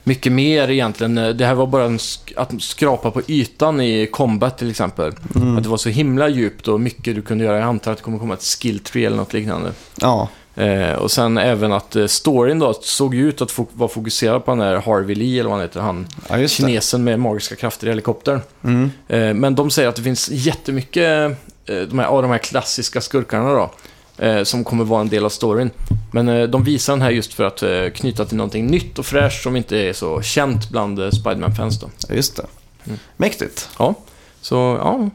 S2: mycket mer egentligen. Det här var bara en sk- att skrapa på ytan i combat till exempel. Att det var så himla djupt och mycket du kunde göra. Jag antar att det kommer komma ett skill tree eller något liknande.
S1: Ja,
S2: Eh, och sen även att eh, storyn då såg ju ut att fok- vara fokuserad på den där Harvey Lee eller vad han heter, han
S1: ja just det.
S2: kinesen med magiska krafter i helikoptern.
S1: Mm.
S2: Eh, men de säger att det finns jättemycket eh, de här, av de här klassiska skurkarna då. Eh, som kommer vara en del av storyn. Men eh, de visar den här just för att eh, knyta till någonting nytt och fräscht som inte är så känt bland eh, Spiderman-fans då.
S1: Ja, just det. Mäktigt.
S2: Ja, så ja.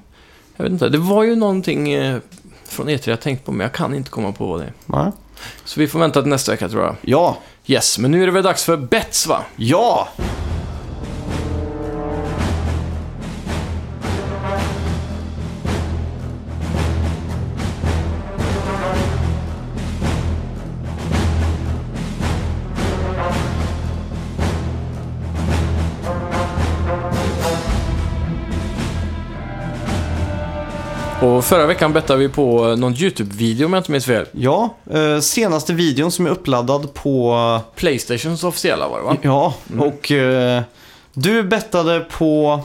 S2: Jag vet inte. Det var ju någonting eh, från E3 jag tänkt på, men jag kan inte komma på vad det är.
S1: Ja.
S2: Så vi får vänta till nästa vecka tror jag.
S1: Ja.
S2: Yes, men nu är det väl dags för bets va?
S1: ja.
S2: Och förra veckan bettade vi på eh, någon YouTube-video om jag inte minns fel.
S1: Ja, eh, senaste videon som är uppladdad på...
S2: Playstations officiella var det va?
S1: Ja, och eh, du bettade på...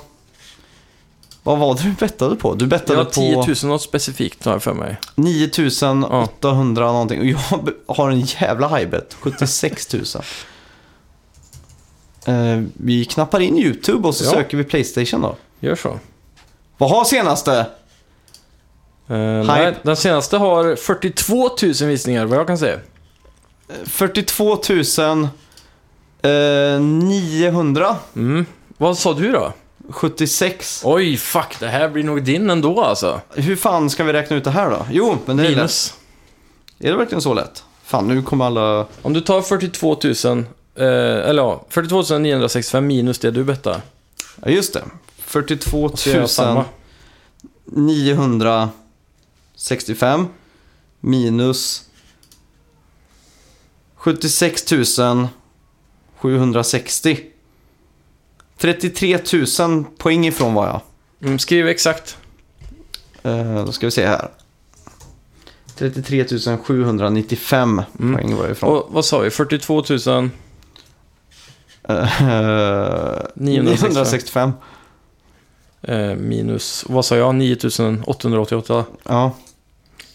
S1: Vad var det du bettade på? Du bettade
S2: Ja,
S1: på...
S2: 10 000 något specifikt har jag för mig.
S1: 9800 någonting. Och jag har en jävla hajbet. 76 000. Eh, vi knappar in YouTube och så
S2: Ja.
S1: söker vi Playstation då.
S2: Gör så.
S1: Vad har senaste?
S2: Eh, nej, den senaste har 42 000 visningar, vad jag kan säga.
S1: 42 000, eh, 900.
S2: Mm. Vad sa du då?
S1: 76.
S2: Oj, fuck, det här blir nog din ändå alltså.
S1: Hur fan ska vi räkna ut det här då? Jo, men det är lätt.
S2: Minus.
S1: Är det verkligen så lätt? Fan, nu kommer alla...
S2: Om du tar 42 000, eh, eller ja, 42 965 minus det du bettar.
S1: Ja, just det.
S2: Så gör jag
S1: 42
S2: samma.
S1: 965 minus 76 760. 33 000 poäng ifrån var jag.
S2: Mm, skriv exakt.
S1: Eh, Då ska vi se här. 33 795
S2: Mm.
S1: poäng var jag ifrån.
S2: Och vad sa vi? 42 000?
S1: Eh,
S2: 965.
S1: 965.
S2: Eh, minus, vad sa jag? 9 888.
S1: Ja.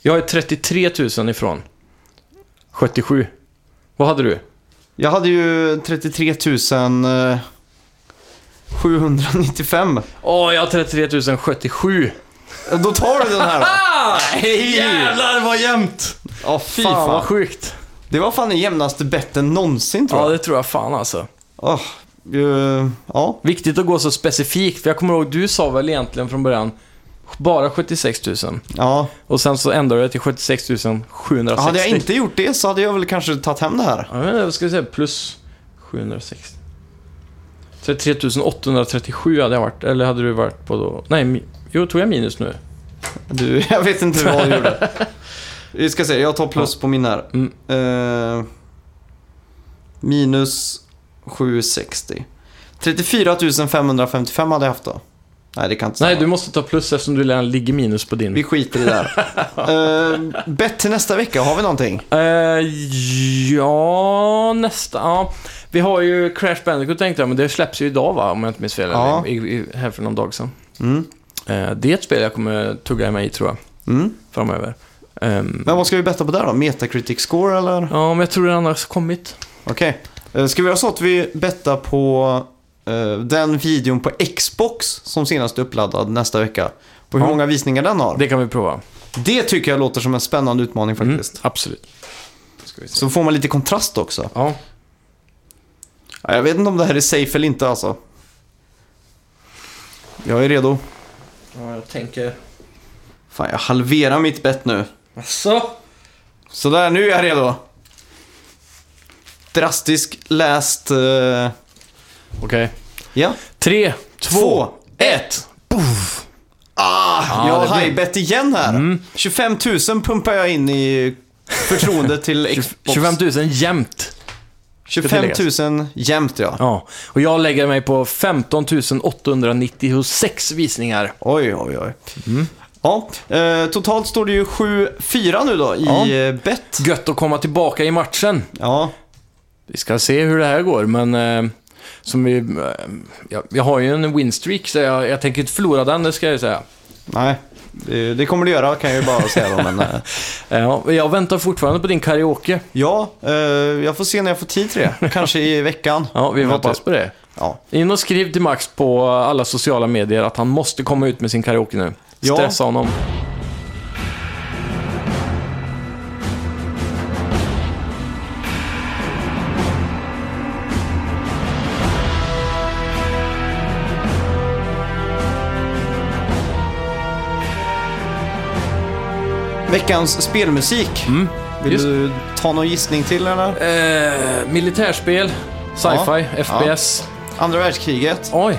S2: Jag är 33 000 ifrån. 77. Vad hade du?
S1: Jag hade ju 33 000, eh, 795.
S2: Åh, jag har 33 077.
S1: Då tar du den här då.
S2: Ah!
S1: Hej!
S2: Jävlar vad jämnt!
S1: Ja,
S2: Fy
S1: fy
S2: fan vad
S1: fan.
S2: sjukt.
S1: Det var fan den jämnaste betten någonsin tror
S2: Ja,
S1: jag.
S2: det tror jag fan alltså.
S1: Åh, eh, ja.
S2: Viktigt att gå så specifikt, för jag kommer ihåg du sa väl egentligen från början bara 76 000.
S1: ja.
S2: Och sen så ändrade jag till 76 760.
S1: Hade jag inte gjort det så hade jag väl kanske tagit hem det här.
S2: Ja, men vad ska vi säga? Plus 760. 33 837 hade jag varit, eller hade du varit på då? Nej, mi- jo, tog jag minus nu?
S1: Du, jag vet inte vad jag gjorde. Vi ska se, jag tar plus på min här.
S2: Mm.
S1: Eh, minus 760. 34 555 hade jag haft då. Nej, det kan inte stämma.
S2: Nej, du måste ta plus eftersom du redan ligger minus på din.
S1: Vi skiter i det här. Eh, bett till nästa vecka, har vi någonting?
S2: Eh, ja, nästa. Ja. Vi har ju Crash Bandicoot tänkte jag, men det släpps ju idag va? Om jag inte minns fel.
S1: Ja.
S2: Eller, i, i, här för någon dag sedan.
S1: Mm.
S2: Eh, det är ett spel jag kommer tugga mig i tror jag,
S1: Mm.
S2: framöver. Ehm,
S1: Men vad ska vi betta på där då? Metacritic score eller?
S2: Ja, men jag tror den har kommit.
S1: Okej. Eh, Ska vi göra så att vi bettar på eh, den videon på Xbox som senast är uppladdad nästa vecka? På hur
S2: Ja.
S1: många visningar den har? Det...
S2: Det kan vi prova.
S1: tycker jag låter som en spännande utmaning faktiskt.
S2: Mm, absolut. Ska vi se.
S1: Så får man lite kontrast också.
S2: Ja.
S1: Ja, Jag vet inte om det här är safe eller inte alltså. Jag är redo.
S2: ja, jag tänker...
S1: Fan, jag halverar mitt bett nu.
S2: Asså?
S1: Sådär, nu är jag redo. Drastisk läst... eh,
S2: Okej.
S1: ja.
S2: Tre, två,
S1: Två.
S2: ett.
S1: Ah, jag
S2: Ja, det
S1: har
S2: blir- Mm.
S1: hajbett igen här. 25 000 pumpar jag in i förtroende till Xbox.
S2: 25 000 jämnt.
S1: 25 000 jämt ja.
S2: Ja, och jag lägger mig på 15 896 visningar.
S1: Oj, oj, oj.
S2: Mm.
S1: Ja, eh, totalt står det ju 7-4 nu då i
S2: Ja.
S1: ja. bett.
S2: Gött att komma tillbaka i matchen.
S1: Ja,
S2: Vi ska se hur det här går, men... Eh, som vi... Eh, jag, jag har ju en winstreak, så jag, jag tänker inte förlora den, det ska jag ju säga.
S1: nej. Det, det kommer du göra kan jag ju bara säga då. Men, eh,
S2: Ja, och jag väntar fortfarande på din karaoke.
S1: ja, eh, jag får se när jag får tid till det. Kanske i veckan.
S2: Ja, vi
S1: Jag vet
S2: hoppas
S1: inte.
S2: på det.
S1: Ja.
S2: In och skriv till Max på alla sociala medier att han måste komma ut med sin karaoke nu.
S1: Ja.
S2: Stressa honom.
S1: Veckans spelmusik. Vill
S2: Mm. just-
S1: du ta någon gissning till eller?
S2: Eh, militärspel, sci-fi,
S1: Ja.
S2: FPS.
S1: Andra världskriget.
S2: Oj!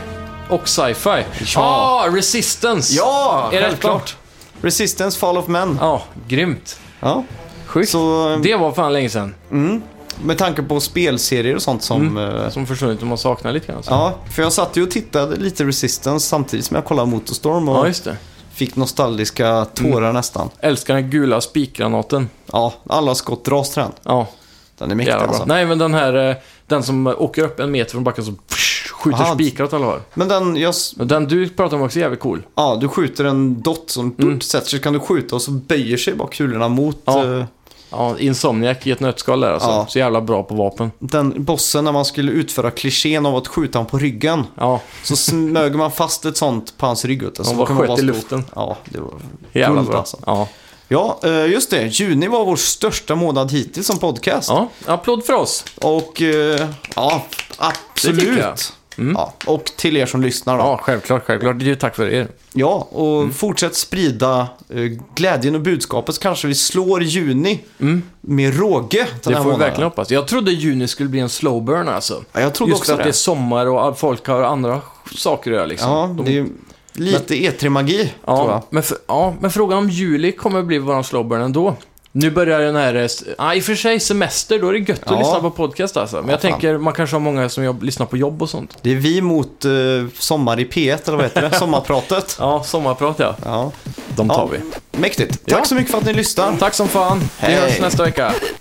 S2: Och sci-fi.
S1: Ja.
S2: Ah, Resistance!
S1: Ja,
S2: Är det rätt
S1: självklart.
S2: då?
S1: Resistance Fall of Men.
S2: Ja, grymt.
S1: Ja.
S2: Sjukt.
S1: Så eh,
S2: Det var fan länge sedan.
S1: med tanke på spelserier och sånt som... eh,
S2: Som försvunnit och man saknar lite grann. så.
S1: Ja, för jag satt ju och tittade lite Resistance samtidigt som jag kollade Motorstorm och
S2: ja, just det. Mm.
S1: fick nostalgiska tårar nästan.
S2: Älskar den gula spikgranaten.
S1: Ja, alla skott dras till den.
S2: Ja,
S1: Den är mäktig
S2: jävla
S1: alltså.
S2: bra. Nej, men den här... eh, Den som åker upp en meter från backen som skjuter
S1: Aha.
S2: spikar åt alla håll.
S1: Men den, jag, s-
S2: Och Den du pratar om också är jävligt cool.
S1: ja, du skjuter en dot som mm. sätter sig, kan du skjuta och så böjer sig bara kulorna mot...
S2: Ja.
S1: eh,
S2: Ja, Insomniac i ett nötskal där alltså.
S1: Ja.
S2: Så jävla bra på vapen.
S1: Den bossen när man skulle utföra klichén av att skjuta honom på ryggen.
S2: Ja,
S1: Så smög man fast ett sånt på hans rygg. vet du. Så
S2: de
S1: då
S2: var
S1: kan man
S2: sköt i
S1: stå-
S2: luften.
S1: Ja, det var...
S2: Jävla
S1: Guld,
S2: bra.
S1: alltså.
S2: Ja.
S1: ja, eh, just det. Juni var vår största månad hittills som podcast.
S2: ja, applåd för oss.
S1: Och eh, ja, absolut.
S2: jag. Mm.
S1: Ja, och till er som lyssnar då.
S2: Ja, Mm. självklart, självklart. Det är ju tack för er.
S1: Ja, och fortsätt sprida eh, glädjen och budskapet. Så kanske vi slår juni med råge den
S2: Mm. Det
S1: här
S2: får vi
S1: månaden.
S2: verkligen hoppas. Jag trodde juni skulle bli en slow burn alltså.
S1: Ja, jag trodde
S2: Just för
S1: också
S2: att det
S1: det.
S2: är sommar och folk har andra saker att göra liksom.
S1: Ja,
S2: De-
S1: det är ju lite E3-magi, tror
S2: ja,
S1: jag.
S2: men, för, ja, men frågan om juli kommer bli våran slow burn ändå. Nu börjar den här... eh, s- Ja, i och för sig semester, då är det gött att
S1: Ja.
S2: lyssna på podcast alltså. Men
S1: Ja,
S2: jag
S1: fan.
S2: tänker, man kanske har många som jobb, lyssnar på jobb och sånt.
S1: Det är vi mot eh, Sommar i P1, eller vad heter det? Sommarpratet.
S2: Ja, sommarprat ja.
S1: Ja,
S2: De tar vi.
S1: mäktigt.
S2: Ja.
S1: Tack så mycket för att ni lyssnar.
S2: Tack som fan. Vi
S1: Hej.
S2: hörs nästa vecka.